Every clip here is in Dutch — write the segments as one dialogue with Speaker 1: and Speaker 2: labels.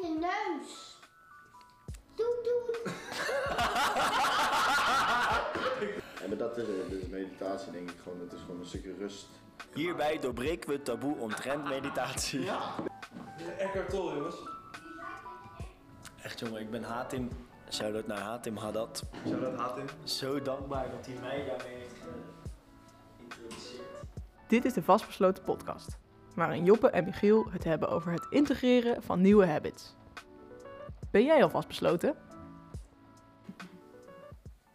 Speaker 1: neus. Doet, doet.
Speaker 2: Ja, maar dat is, het. Dus meditatie denk ik gewoon. Het is gewoon een stukje rust.
Speaker 3: Hierbij doorbreken we het taboe omtrent meditatie.
Speaker 4: Eckhart Tolle, jongens.
Speaker 3: Echt jongen, ik ben Hatim. Shout-out naar Hatim Haddad.
Speaker 4: Zou dat haat in?
Speaker 3: Zo dankbaar dat hij mij daarmee heeft geïntroduceerd.
Speaker 5: Dit is de Vastbesloten podcast, waarin Joppe en Michiel het hebben over het integreren van nieuwe habits. Ben jij al vastbesloten?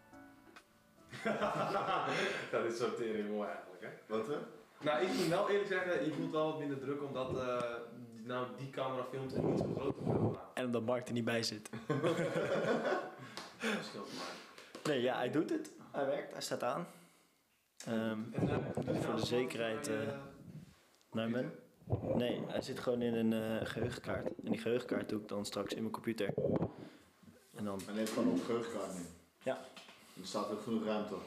Speaker 4: dat is zo tering mooi eigenlijk, hè?
Speaker 2: Wat hè?
Speaker 4: Nou, ik moet wel eerlijk zeggen, je voelt wel wat minder druk omdat eh, nou, die camera filmt en niet zo groot te filmen.
Speaker 3: En omdat Mark er niet bij zit.
Speaker 4: Dat scheelt maar.
Speaker 3: Nee, ja, hij doet het. Hij werkt, hij staat aan. Ehm
Speaker 4: En, eh, doe je nou
Speaker 3: Voor de
Speaker 4: eens
Speaker 3: zekerheid,
Speaker 4: wat bij,
Speaker 3: eh,
Speaker 4: eh,
Speaker 3: naar mijn... Nee, hij zit gewoon in een eh, geheugenkaart. En die geheugenkaart doe ik dan straks in mijn computer. En dan...
Speaker 2: Maar neem gewoon op geheugenkaart nu.
Speaker 3: Ja.
Speaker 2: Er staat ook genoeg ruimte op.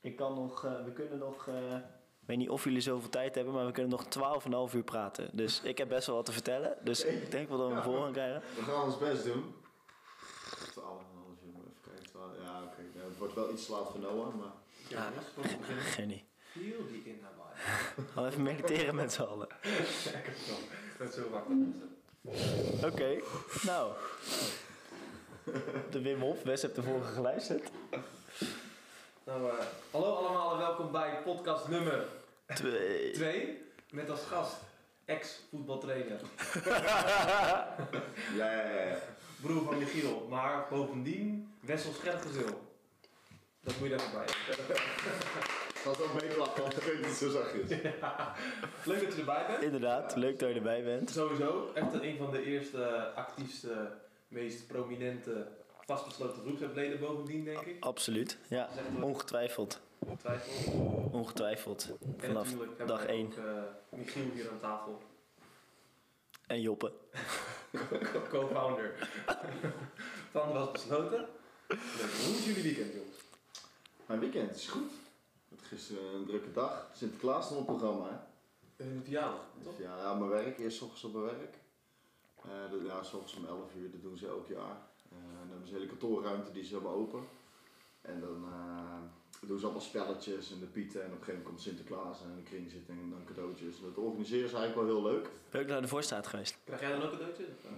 Speaker 3: Ik kan nog... eh, we kunnen nog... eh, ik weet niet of jullie zoveel tijd hebben, maar we kunnen nog 12,5 uur praten. Dus ik heb best wel wat te vertellen. Dus ik denk wel dat we hem voor gaan krijgen.
Speaker 2: We gaan ons best doen. 12,5 uur, maar even kijken. 12 Ja, oké. Ja, het wordt wel iets te laat voor Noah, maar...
Speaker 4: Ja, jongens, voor het begin
Speaker 3: Genie.
Speaker 4: viel die in naar mij.
Speaker 3: Al even mediteren met z'n allen.
Speaker 4: Lekker zo. Dat is zo makkelijk.
Speaker 3: Oké, nou. De Wim Hof, Wes hebt ervoor geluisterd.
Speaker 4: Nou, eh, hallo allemaal en welkom bij podcast nummer
Speaker 3: Twee.
Speaker 4: 2. Met als gast ex-voetbaltrainer,
Speaker 2: Ja, ja, ja. ja.
Speaker 4: broer van Michiel, maar bovendien Wessel Scherpgezil. Dat moet je daar voorbij.
Speaker 2: Gaat ook meeklappen, want ik weet niet zo zachtjes.
Speaker 4: Leuk dat je erbij bent.
Speaker 3: Inderdaad, leuk dat je erbij bent.
Speaker 4: Sowieso, echt een van de eerste, actiefste, meest prominente, vastbesloten groepsleden bovendien, denk ik.
Speaker 3: Absoluut, ja.
Speaker 4: Zegt wel
Speaker 3: Ongetwijfeld,
Speaker 4: een twijfel.
Speaker 3: ongetwijfeld.
Speaker 4: En
Speaker 3: Vanaf
Speaker 4: natuurlijk hebben
Speaker 3: dag
Speaker 4: we
Speaker 3: 1.
Speaker 4: ook eh, Michiel hier aan tafel,
Speaker 3: En Joppe.
Speaker 4: co-founder van Vastbesloten. Leuk, hoe is jullie weekend, jongens?
Speaker 2: Mijn weekend is goed. Het gisteren een drukke dag. Sinterklaas nog op programma, hè?
Speaker 4: Een verjaardag,
Speaker 2: Dus
Speaker 4: toch?
Speaker 2: ja, ja, mijn werk. Eerst 's ochtends op mijn werk. Eh dat, ja, 's ochtends om 11 uur. Dat doen ze elk jaar. Eh, en dan hebben ze een hele kantoorruimte die is helemaal open. En dan eh, doen ze allemaal spelletjes en de pieten. En op een gegeven moment komt Sinterklaas en in de kring zitten en dan cadeautjes. En dat organiseren is eigenlijk wel heel leuk.
Speaker 3: Leuk dat je ervoor staat geweest.
Speaker 4: Krijg jij dan ook een cadeautje? Of, eh?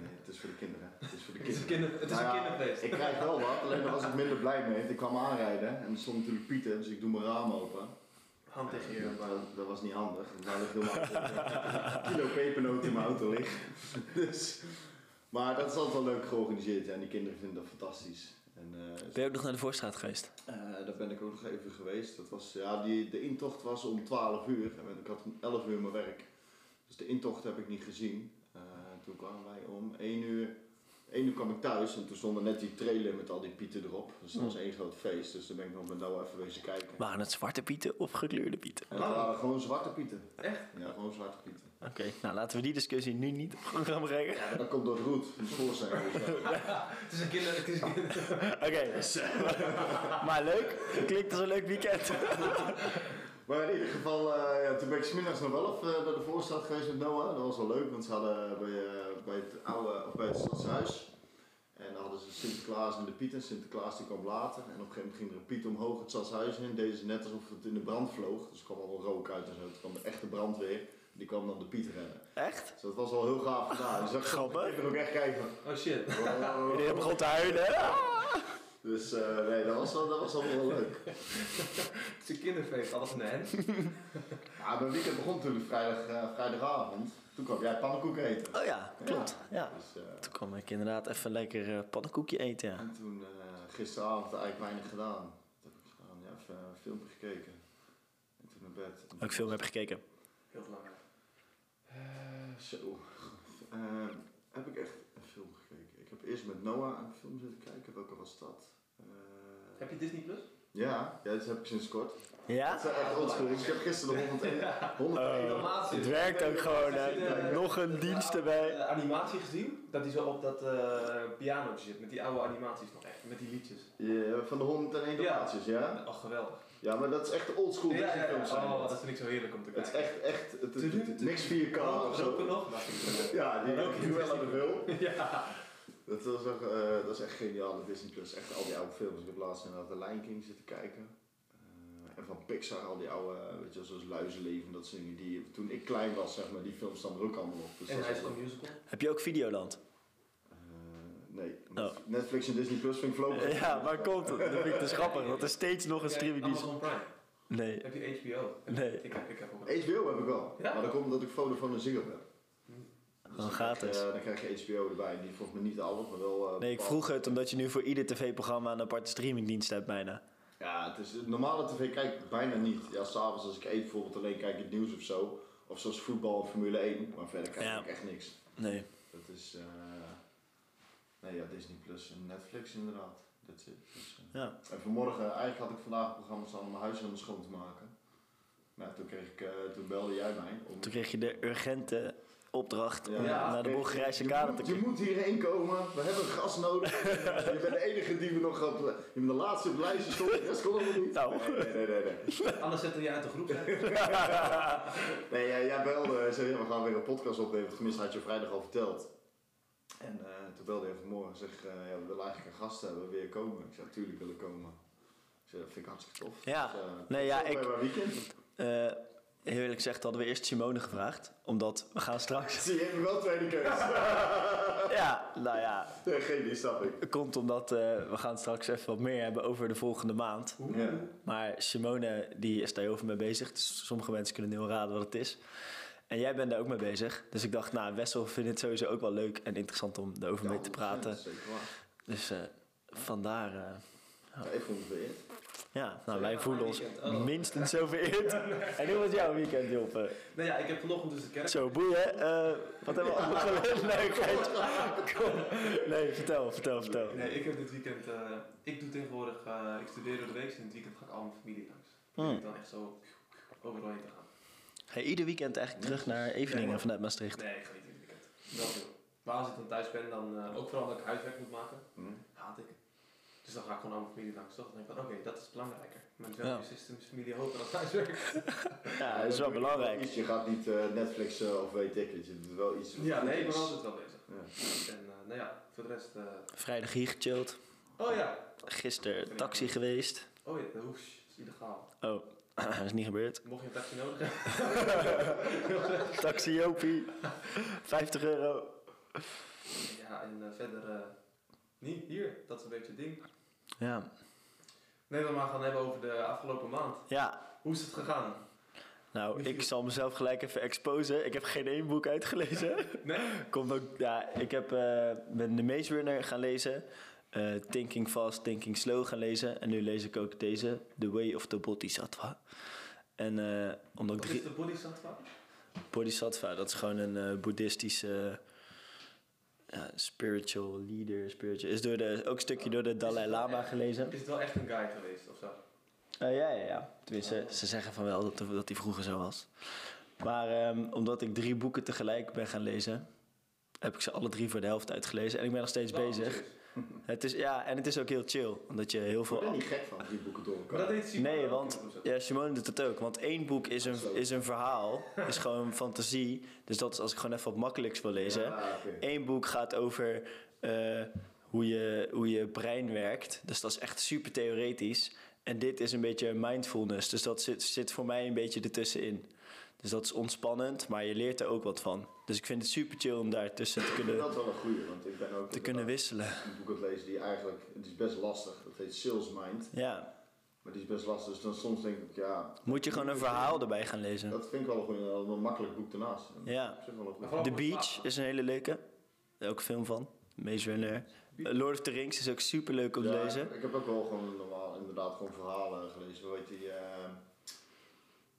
Speaker 2: Nee, het is voor de kinderen. hè. Het is voor de
Speaker 4: Het is een,
Speaker 2: kinderen.
Speaker 4: kinder, het is
Speaker 2: Nou ja,
Speaker 4: een kinderfeest.
Speaker 2: Ik krijg wel wat, alleen daar was ik minder blij mee. want Ik kwam aanrijden en er stond natuurlijk Pieter, dus ik doe mijn raam open.
Speaker 4: Hand tegen je.
Speaker 2: Dat, dat- dat was niet handig. want Daar ligt helemaal een kilo pepernoot in mijn auto ligt. Dus, maar dat is altijd wel leuk georganiseerd ja, en die kinderen vinden dat fantastisch. En, eh,
Speaker 3: Ben je ook nog naar de voorstraat geweest?
Speaker 2: eh, daar ben ik ook nog even geweest. Dat was, ja, die, de intocht was om 12 uur en ik had om 11 uur mijn werk. Dus de intocht heb ik niet gezien. Eh, toen kwamen wij om 1 uur. 1 uur kwam ik thuis en toen stonden net die trailer met al die pieten erop. Dus dat was één groot feest. Dus toen ben ik nog met Noah even wezen kijken.
Speaker 3: Waren het zwarte pieten of gekleurde pieten?
Speaker 2: En dat waren gewoon zwarte pieten.
Speaker 4: Echt?
Speaker 2: Ja, gewoon zwarte pieten.
Speaker 3: Oké, nou laten we die discussie nu niet op programma brengen.
Speaker 2: Ja, dat komt door Roet, van de voorzanger.
Speaker 4: Het is een kinder... Het is een kinder.
Speaker 3: Oké, maar leuk. Klinkt als een leuk weekend.
Speaker 2: Maar in ieder geval, eh, ja, toen ben ik smiddags nog wel even eh, naar de voorstad geweest met Noah. Dat was wel leuk, want ze hadden bij, eh, bij het oude, of bij het stadshuis. En dan hadden ze Sinterklaas en de Piet. En Sinterklaas die kwam later. En op een gegeven moment ging er een Piet omhoog het stadshuis in. Deze net alsof het in de brand vloog. Dus er kwam allemaal rook uit en zo. Toen kwam de echte brandweer. Die kwam dan de Piet redden.
Speaker 3: Echt?
Speaker 2: Dus dat was wel heel gaaf gedaan. Dus dat
Speaker 3: Grappig.
Speaker 2: Ik ben ook echt kijken.
Speaker 4: Oh shit.
Speaker 3: Iedereen begon te huilen.
Speaker 2: Dus eh, nee, dat was, wel, dat was wel heel leuk.
Speaker 4: Het is een kinderfeest, alles in de hand.
Speaker 2: Ja, mijn weekend begon natuurlijk vrijdag, eh, vrijdagavond. Toen kwam jij pannenkoeken eten.
Speaker 3: Oh ja, klopt. Ja.
Speaker 2: Dus, eh,
Speaker 3: Toen kwam ik inderdaad even lekker eh, pannenkoekje eten, ja.
Speaker 2: en toen eh, gisteravond eigenlijk weinig gedaan. Wat heb ik gedaan? Ja, even een filmpje gekeken. En toen naar bed.
Speaker 3: Ook ik film heb gekeken.
Speaker 4: Heel belangrijk.
Speaker 2: Eh, zo. Eh, heb ik echt een film gekeken? Ik heb eerst met Noah een film zitten kijken. Welke was dat? Eh,
Speaker 4: Heb je Disney Plus?
Speaker 2: ja, ja, dat heb ik sinds kort. Dat
Speaker 3: Ja?
Speaker 2: is echt oldschool. Ik heb gisteren de 101. 101
Speaker 3: Het werkt ook gewoon, hè. Nog een dienst erbij.
Speaker 4: Eh, animatie gezien? Dat hij zo op dat eh pianootje zit, met die oude animaties nog echt, met die liedjes.
Speaker 2: Ja, van de 101
Speaker 4: Ja.
Speaker 2: plaatjes, ja?
Speaker 4: Oh, geweldig.
Speaker 2: Ja, maar dat is echt oldschool
Speaker 4: Ja, ja, ja.
Speaker 2: Disney-films zijn.
Speaker 4: Oh,
Speaker 2: dat.
Speaker 4: dat vind ik zo heerlijk om te
Speaker 2: Het is
Speaker 4: kijken.
Speaker 2: echt, echt, het, het- het- niks 4K of
Speaker 4: Roken
Speaker 2: zo.
Speaker 4: nog?
Speaker 2: Ja, die
Speaker 4: Roken
Speaker 2: roken wel aan de wil.
Speaker 4: Ja.
Speaker 2: Dat, was nog, eh, dat is echt geniaal, dat Disney Plus. Echt al die oude films. Ik heb laatst inderdaad de Lion King zitten kijken. Eh, en van Pixar al die oude, eh, weet je, wel, zoals Luizenleven, dat soort dingen. Die, toen ik klein was, zeg maar, die films staan er ook allemaal op. Dus
Speaker 4: En
Speaker 2: dat
Speaker 4: hij
Speaker 2: is
Speaker 4: is
Speaker 2: wel-
Speaker 4: een musical.
Speaker 3: Heb je ook Videoland?
Speaker 2: Eh, nee, Netflix en Disney Plus vind ik voorlopig.
Speaker 3: Oh. Ja, waar komt het? Dat vind ik te grappig. Dat er steeds nog een
Speaker 4: Kijk,
Speaker 3: streamingdienst...
Speaker 4: Amazon Prime.
Speaker 3: Nee,
Speaker 4: Heb je HBO?
Speaker 3: nee.
Speaker 4: Ik heb, ik heb ook een-
Speaker 2: HBO heb ik wel.
Speaker 4: Ja?
Speaker 2: Maar dat komt omdat ik Vodafone en Ziggo heb. Dus dan
Speaker 3: gratis.
Speaker 2: krijg je- dan krijg je HBO erbij. Die volgens mij niet alles, maar wel... eh,
Speaker 3: Nee, ik
Speaker 2: bepaalde-
Speaker 3: vroeg het omdat je nu voor ieder tv-programma een aparte streamingdienst hebt bijna.
Speaker 2: Ja, het is, normale tv kijk ik bijna niet. Ja, s'avonds als ik eet bijvoorbeeld alleen kijk ik het nieuws of zo. Of zoals voetbal of Formule 1. Maar verder kijk
Speaker 3: Ja.
Speaker 2: ik echt niks.
Speaker 3: Nee.
Speaker 2: Dat is... eh, nee, ja, Disney Plus en Netflix inderdaad. That's it. Dus, eh.
Speaker 3: Ja.
Speaker 2: En vanmorgen, eigenlijk had ik vandaag een programma staan om mijn huis helemaal schoon te maken. Nou, toen, kreeg ik, eh, toen belde jij mij. Om,
Speaker 3: Toen kreeg je de urgente opdracht om
Speaker 4: Ja.
Speaker 3: naar de Bulgarijse kade te
Speaker 2: Je
Speaker 3: kijken.
Speaker 2: moet hierheen komen, we hebben gas nodig. je bent de enige die we nog gaat. Je bent de laatste op het lijstje stond, de rest kon allemaal niet.
Speaker 3: Nou.
Speaker 2: Nee, nee, nee. nee, nee.
Speaker 4: Anders zet jij uit de groep. hè?
Speaker 2: Nee, jij, jij belde en zei, ja, we gaan weer een podcast opnemen. Tenminste, had je vrijdag al verteld. En eh, toen belde je vanmorgen en zeg, eh, ja, we willen eigenlijk een gast hebben, wil je komen? Ik zei, tuurlijk wil ik komen. Ik zei, dat vind ik hartstikke tof.
Speaker 3: Ja.
Speaker 2: Dus, eh,
Speaker 3: Nee, ja,
Speaker 2: tot bij
Speaker 3: ik-
Speaker 2: mijn weekend.
Speaker 3: Eh heel eerlijk gezegd hadden we eerst Simone gevraagd. Omdat we gaan straks...
Speaker 2: Zie je, hebt wel tweede keus.
Speaker 3: Ja, nou ja.
Speaker 2: nee, geen, die snap ik.
Speaker 3: Komt omdat eh, we gaan straks even wat meer hebben over de volgende maand.
Speaker 2: Ja.
Speaker 3: Maar Simone die is daar heel veel mee bezig. Dus sommige mensen kunnen heel raden wat het is. En jij bent daar ook mee bezig. Dus ik dacht, nou, Wessel vindt het sowieso ook wel leuk en interessant om daarover mee te
Speaker 2: Ja,
Speaker 3: praten.
Speaker 2: Zeker waar.
Speaker 3: Dus eh, vandaar, eh,
Speaker 2: Ja, ik vond het weer.
Speaker 3: ja, nou,
Speaker 4: Ja,
Speaker 3: wij
Speaker 4: mijn
Speaker 3: voelen ons
Speaker 4: weekend. Oh.
Speaker 3: minstens zo vereerd. en hoe was jouw weekend, Joppe?
Speaker 4: Nou ja, ik heb vanochtend dus de kerk.
Speaker 3: Zo, boeien. eh wat hebben we allemaal geleerd? Nee, geintje. Kom. Nee, vertel, vertel, vertel.
Speaker 4: Nee, ik heb dit weekend. eh, ik doe tegenwoordig. eh, ik studeer door de week en in het weekend ga ik al mijn familie langs. Dan
Speaker 3: Hmm.
Speaker 4: ik dan echt zo overal heen te gaan.
Speaker 3: Ga je ieder weekend eigenlijk terug naar Eveningen vanuit Maastricht?
Speaker 4: Nee, ik ga niet in het weekend. Dat doen. Maar als ik dan thuis ben, dan eh, ook vooral dat ik huiswerk moet maken. Haat ik. Dus dan ga ik gewoon aan mijn familie langs. Toch? Dan denk ik van oké, dat is belangrijker. Mijn value system is familie hoger dan huiswerk.
Speaker 3: Ja, dat is wel
Speaker 2: doe je
Speaker 3: belangrijk.
Speaker 2: iets. Je gaat niet eh, Netflix eh, of weet ik het. Je doet wel iets. wat
Speaker 4: Ja,
Speaker 2: goed
Speaker 4: nee, ik
Speaker 2: is.
Speaker 4: ben altijd wel bezig.
Speaker 2: Ja.
Speaker 4: En eh, nou ja, voor de rest. eh,
Speaker 3: Vrijdag hier gechilled.
Speaker 4: oh ja.
Speaker 3: Gisteren taxi geweest.
Speaker 4: Oh ja, hoes, is illegaal.
Speaker 3: Oh, dat is niet gebeurd.
Speaker 4: Mocht je een taxi nodig hebben.
Speaker 3: Taxi Jopie. 50 euro.
Speaker 4: Ja, en eh, verder. eh, niet hier, dat is een beetje het ding.
Speaker 3: Ja.
Speaker 4: Nee, we maar gaan hebben over de afgelopen maand.
Speaker 3: Ja.
Speaker 4: Hoe is het gegaan?
Speaker 3: Nou, ik zal mezelf gelijk even exposen. Ik heb geen één boek uitgelezen.
Speaker 4: Nee?
Speaker 3: Komt ook, ja, ik heb, eh, ben The Maze Runner gaan lezen. eh, Thinking Fast, Thinking Slow gaan lezen. En nu lees ik ook deze, The Way of the Bodhisattva. En eh, omdat ik
Speaker 4: Wat is
Speaker 3: drie...
Speaker 4: de bodhisattva?
Speaker 3: Bodhisattva, dat is gewoon een eh, boeddhistische eh, ja, spiritual leader. Spiritual, is door de, ook een stukje door de Dalai Lama gelezen.
Speaker 4: Is het wel echt een guy geweest of zo?
Speaker 3: Eh, ja, ja, ja. Tenminste, ze zeggen van wel dat, dat die vroeger zo was. Maar ehm, omdat ik drie boeken tegelijk ben gaan lezen, heb ik ze alle drie voor de helft uitgelezen. En ik ben nog steeds
Speaker 4: Wel,
Speaker 3: bezig.
Speaker 4: precies.
Speaker 3: Het is, ja, en het is ook heel chill, omdat je heel
Speaker 2: Ik ben
Speaker 3: veel...
Speaker 2: niet gek van die boeken door
Speaker 4: Maar
Speaker 2: elkaar.
Speaker 4: dat deed Simon
Speaker 3: Nee,
Speaker 4: ook
Speaker 3: want
Speaker 4: niet, of zo.
Speaker 3: ja, Simone doet het ook. Want één boek is een, is een verhaal, is gewoon fantasie. Dus dat is als ik gewoon even wat makkelijks wil lezen.
Speaker 2: Ja, oké.
Speaker 3: Eén boek gaat over eh, hoe, je, hoe je brein werkt. Dus dat is echt super theoretisch. En dit is een beetje mindfulness. Dus dat zit, zit voor mij een beetje ertussenin. Dus dat is ontspannend, maar je leert er ook wat van. Dus ik vind het super chill om daar tussen te
Speaker 2: Ik vind
Speaker 3: kunnen,
Speaker 2: dat wel een goeie, want ik ben ook
Speaker 3: te kunnen
Speaker 2: inderdaad
Speaker 3: wisselen.
Speaker 2: een boek aan het lezen die eigenlijk, het is best lastig. Dat heet Sales Mind,
Speaker 3: Ja,
Speaker 2: maar die is best lastig. Dus dan soms denk ik, ja,
Speaker 3: moet je gewoon een verhaal erbij gaan lezen.
Speaker 2: dat vind ik wel een, goeie, wel een makkelijk boek daarnaast. En
Speaker 3: Ja.
Speaker 2: op zich wel een goeie.
Speaker 4: Maar vooral
Speaker 3: The
Speaker 4: voor het
Speaker 3: Beach
Speaker 4: slapen.
Speaker 3: is een hele leuke. Daar Ook een film van. Maze Runner. Eh, Lord of the Rings is ook super leuk om te
Speaker 2: Ja,
Speaker 3: lezen.
Speaker 2: Ik heb ook wel gewoon normaal, inderdaad gewoon verhalen gelezen. Hoe heet die, eh,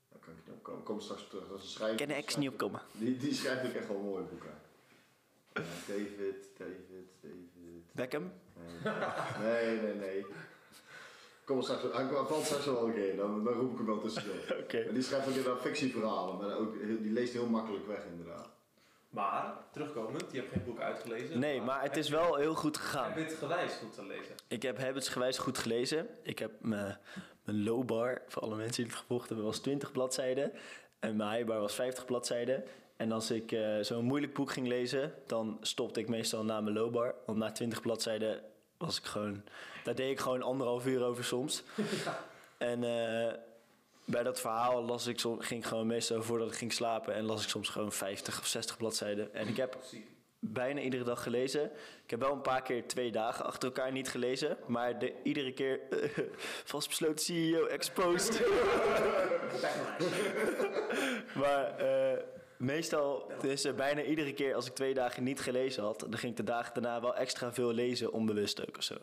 Speaker 2: daar kan ik niet op komen. Ik kom straks op terug. Dat is een
Speaker 3: Ik
Speaker 2: schrijver.
Speaker 3: kan de ex niet opkomen.
Speaker 2: Die, die schrijft ook echt wel mooie boeken. Ja, David, David, David.
Speaker 3: Beckham?
Speaker 2: Nee, nee, nee. Kom maar straks, hij kwam- valt straks wel een keer, dan, dan roep ik hem wel tussendoor.
Speaker 3: Oké.
Speaker 2: En die schrijft ook inderdaad fictieverhalen, maar ook, die leest heel makkelijk weg inderdaad.
Speaker 4: Maar, terugkomend, je hebt geen boek uitgelezen.
Speaker 3: Nee, maar het is wel heel goed gegaan.
Speaker 4: Heb je het gewijs goed te lezen?
Speaker 3: Ik heb habitsgewijs goed gelezen. Ik heb me- mijn Een low bar, voor alle mensen die het gevolgd hebben, was 20 bladzijden. En mijn high bar was 50 bladzijden. En als ik eh, zo'n moeilijk boek ging lezen, dan stopte ik meestal na mijn low bar. Want na 20 bladzijden was ik gewoon... Daar deed ik gewoon anderhalf uur over soms. En eh, bij dat verhaal las ik soms, ging ik gewoon meestal voordat ik ging slapen... en las ik soms gewoon 50 of 60 bladzijden. En ik heb
Speaker 4: Ziek.
Speaker 3: bijna iedere dag gelezen. Ik heb wel een paar keer twee dagen achter elkaar niet gelezen. Maar de, iedere keer eh, vastbesloten CEO E exposed. maar eh, meestal, dus eh, bijna iedere keer als ik twee dagen niet gelezen had... dan ging ik de dagen daarna wel extra veel lezen, onbewust ook of zo.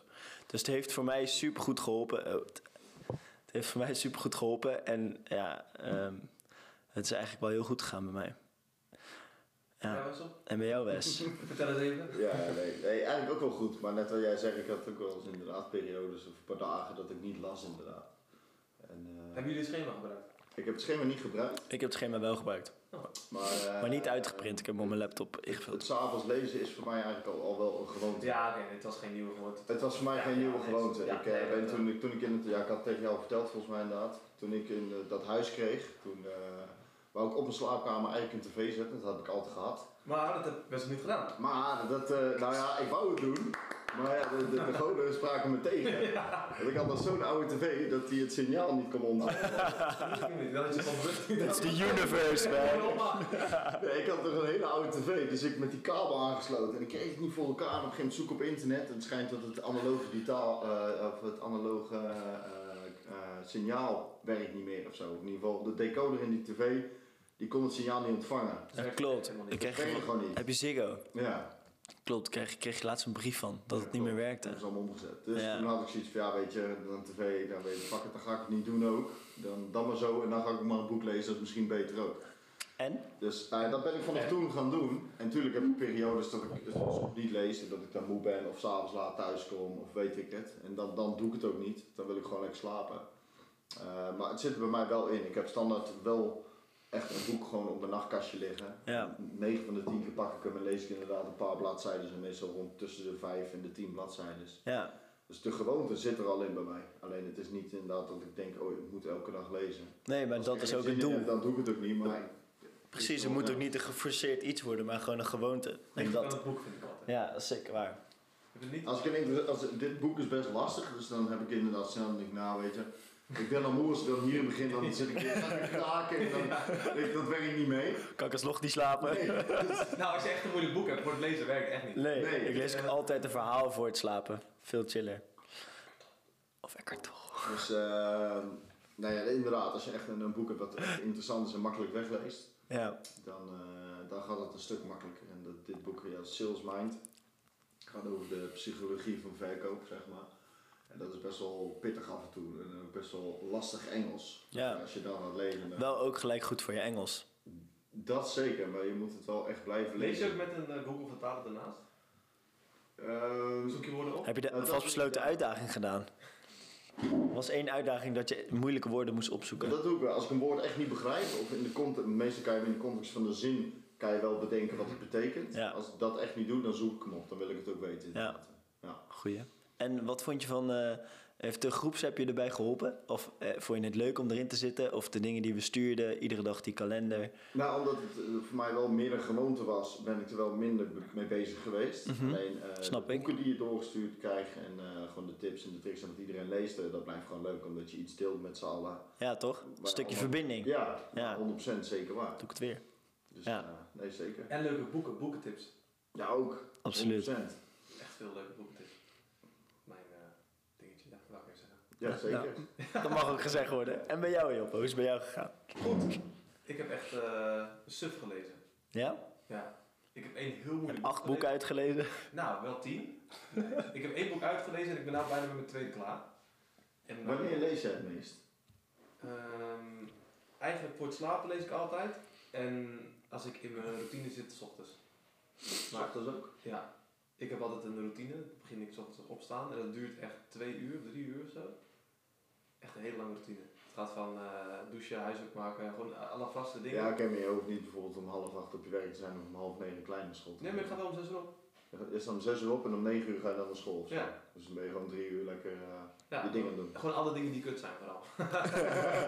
Speaker 3: Dus het heeft voor mij supergoed geholpen. Eh, het, het heeft voor mij supergoed geholpen. En ja, ehm, het is eigenlijk wel heel goed gegaan bij mij.
Speaker 4: Ja,
Speaker 3: Ja,
Speaker 4: Wessel,
Speaker 3: en bij jou, Wes?
Speaker 4: vertel eens even.
Speaker 2: Ja, nee, nee, eigenlijk ook wel goed. Maar net wat jij zegt, ik had ook wel eens inderdaad periodes of een paar dagen dat ik niet las inderdaad. En, eh,
Speaker 4: Hebben jullie het schema gebruikt?
Speaker 2: ik heb het schema niet gebruikt,
Speaker 3: Ik heb het schema wel gebruikt,
Speaker 2: maar... eh,
Speaker 3: maar niet uitgeprint. Ik heb hem op mijn laptop ingevuld.
Speaker 2: Het s'avonds lezen is voor mij eigenlijk al, al wel een gewoonte.
Speaker 4: Ja, oké, dit was geen nieuwe woord.
Speaker 2: Het was voor mij
Speaker 4: Ja,
Speaker 2: geen
Speaker 4: ja,
Speaker 2: nieuwe
Speaker 4: nee,
Speaker 2: gewoonte.
Speaker 4: ja,
Speaker 2: ik, eh,
Speaker 4: nee, dat
Speaker 2: weet
Speaker 4: wel.
Speaker 2: toen, ik, toen ik in het, ja, ik had het tegen jou verteld volgens mij inderdaad. Toen ik in eh, dat huis kreeg, toen eh, wou ik op mijn slaapkamer eigenlijk een tv zetten. Dat had ik altijd gehad.
Speaker 4: Maar dat heb Wessel niet gedaan.
Speaker 2: Maar dat, eh, nou ja, ik wou het doen. Maar ja, de, de, de goden spraken me tegen. Want ik had al zo'n oude tv dat hij het signaal niet kon ontvangen.
Speaker 4: Dat is niet, dat is gewoon bewust niet.
Speaker 3: That's the universe, man.
Speaker 2: Nee, ik had nog een hele oude tv, dus ik met die kabel aangesloten. En ik kreeg het niet voor elkaar. En op een gegeven moment zoek op internet. En het schijnt dat het analoge, digitaal, eh, of het analoge eh, eh, signaal werkt niet meer of zo. In ieder geval, de decoder in die tv, die kon het signaal niet ontvangen.
Speaker 3: Ja, klopt. Ik
Speaker 2: Dat
Speaker 3: kreeg
Speaker 2: kreeg je
Speaker 3: gewoon...
Speaker 2: gewoon niet.
Speaker 3: Heb je Ziggo?
Speaker 2: Ja,
Speaker 3: Klopt, kreeg, kreeg je laatst een brief van dat het niet meer
Speaker 2: dat
Speaker 3: werkte.
Speaker 2: is allemaal omgezet. Dus
Speaker 3: Ja.
Speaker 2: toen had ik zoiets van, ja weet je, dan tv, dan weet je, fuck it, dan ga ik het niet doen ook. Dan, dan maar zo, en dan ga ik maar een boek lezen, dat is misschien beter ook.
Speaker 3: En?
Speaker 2: Dus nou ja, dat ben ik vanaf toen gaan doen. En natuurlijk heb ik periodes dat ik soms niet lees en dat ik dan moe ben of s'avonds laat thuis kom of weet ik het. En dan, dan doe ik het ook niet. Dan wil ik gewoon lekker slapen. Eh, maar het zit er bij mij wel in. Ik heb standaard wel echt een boek gewoon op mijn nachtkastje liggen.
Speaker 3: Ja.
Speaker 2: 9 van de 10 keer pak ik hem en lees ik inderdaad een paar bladzijden. En meestal rond tussen de 5 en de 10 bladzijden.
Speaker 3: Ja,
Speaker 2: Dus de gewoonte zit er al in bij mij. Alleen het is niet inderdaad dat ik denk, oh ik moet elke dag lezen.
Speaker 3: nee, maar
Speaker 2: Als
Speaker 3: dat
Speaker 2: ik
Speaker 3: is
Speaker 2: er
Speaker 3: ook
Speaker 2: geen
Speaker 3: het
Speaker 2: zin in
Speaker 3: doel.
Speaker 2: heb, Dan doe ik het ook niet, maar...
Speaker 3: Precies, het moet ook niet een geforceerd iets worden, maar gewoon een gewoonte. En
Speaker 4: Ik dat
Speaker 3: dat.
Speaker 4: het boek vind ik altijd.
Speaker 3: Ja, dat is zeker waar.
Speaker 4: Heb je het niet?
Speaker 2: Als ik een inter- als, dit boek is best lastig, dus dan heb ik inderdaad snel denk ik, nou weet je, ik ben al moe als ik dan hier begin, dan zit ik weer aan het kraken en dan, ik, dat werkt niet mee.
Speaker 3: Kan ik alsnog niet slapen?
Speaker 2: Nee,
Speaker 4: Nou, als je echt een moeilijk boek hebt voor het lezen, werkt het echt niet.
Speaker 3: Nee,
Speaker 2: Nee.
Speaker 3: ik lees ook altijd een verhaal voor het slapen. Veel chiller. Of Eckhart Tolle.
Speaker 2: Dus eh, nou ja, inderdaad, als je echt een, een boek hebt dat echt interessant is en makkelijk wegleest,
Speaker 3: Ja,
Speaker 2: dan, eh, dan gaat het een stuk makkelijker. En dat, dit boek, ja, Sales Mind, gaat over de psychologie van verkoop, zeg maar. En dat is best wel pittig af en toe en ook best wel lastig Engels.
Speaker 3: Ja.
Speaker 2: Als je dan gaat lezen. dan-
Speaker 3: wel ook gelijk goed voor je Engels.
Speaker 2: Dat zeker, maar je moet het wel echt blijven
Speaker 4: Lees
Speaker 2: lezen.
Speaker 4: je ook met een eh, Google vertaler daarnaast?
Speaker 2: Ehm,
Speaker 4: Zoek je woorden op?
Speaker 3: Heb je
Speaker 2: Nou,
Speaker 3: de
Speaker 2: dat-
Speaker 3: vastbesloten uitdaging gedaan? Er was één uitdaging dat je moeilijke woorden moest opzoeken.
Speaker 2: dat doe ik wel. Als ik een woord echt niet begrijp, of in de context, meestal kan je hem in de context van de zin kan je wel bedenken wat het betekent.
Speaker 3: Ja.
Speaker 2: Als ik dat echt niet doe, dan zoek ik hem op. Dan wil ik het ook weten. inderdaad.
Speaker 3: Goeie. En wat vond je van... eh, heeft de groeps heb je erbij geholpen? Of eh, vond je het leuk om erin te zitten? Of de dingen die we stuurden, iedere dag die kalender?
Speaker 2: Nou, omdat het eh, voor mij wel meer een gewoonte was, ben ik er wel minder be- mee bezig geweest. Alleen eh,
Speaker 3: Mhm. Snap
Speaker 2: de
Speaker 3: ik.
Speaker 2: boeken die je doorgestuurd krijgt en eh, gewoon de tips en de tricks en wat iedereen leest, eh, dat blijft gewoon leuk omdat je iets deelt met z'n allen.
Speaker 3: Ja, toch? Een
Speaker 2: Maar
Speaker 3: stukje
Speaker 2: allemaal-
Speaker 3: verbinding.
Speaker 2: Ja,
Speaker 3: Ja.
Speaker 2: 100% zeker waar.
Speaker 3: Doe ik het weer.
Speaker 2: Dus
Speaker 3: Ja.
Speaker 2: eh, nee, zeker.
Speaker 4: En leuke boeken, boekentips.
Speaker 2: Ja, ook.
Speaker 3: Absoluut.
Speaker 2: 100%.
Speaker 4: Echt veel leuke boekentips. Mijn eh, dingetje, ja, wou ik even zeggen.
Speaker 2: Ja, zeker.
Speaker 3: Ja. Dat mag ook gezegd worden. En bij jou, Joppe. Hoe is het bij jou gegaan?
Speaker 4: Goed. Ik heb echt eh suf gelezen.
Speaker 3: Ja?
Speaker 4: Ja. Ik heb één heel moeilijk
Speaker 3: Acht
Speaker 4: gelezen.
Speaker 3: boeken uitgelezen.
Speaker 4: Nou, wel tien. ik heb één boek uitgelezen en ik ben nou bijna met mijn tweede klaar. En, eh,
Speaker 2: Wanneer lees jij het meest?
Speaker 4: ehm, eigenlijk voor het slapen lees ik altijd. En als ik in mijn routine zit, s ochtends. Maar
Speaker 2: dat dus ook.
Speaker 4: ja, ik heb altijd een routine. Dan begin ik 's ochtends opstaan en dat duurt echt twee uur, drie uur of zo. Echt een hele lange routine. Het gaat van eh, douchen, huiswerk maken, gewoon alle vaste dingen.
Speaker 2: Ja, oké, maar je hoeft niet bijvoorbeeld om half acht op je werk te zijn of om half negen klein naar school te
Speaker 4: Nee, maar ik ga
Speaker 2: gaan.
Speaker 4: wel om zes uur op.
Speaker 2: is dan om zes uur op en om negen uur ga je dan naar school. of zo.
Speaker 4: Ja.
Speaker 2: Dus dan ben je gewoon drie uur lekker eh,
Speaker 4: Ja.
Speaker 2: je dingen doen.
Speaker 4: Gewoon alle dingen die kut zijn vooral.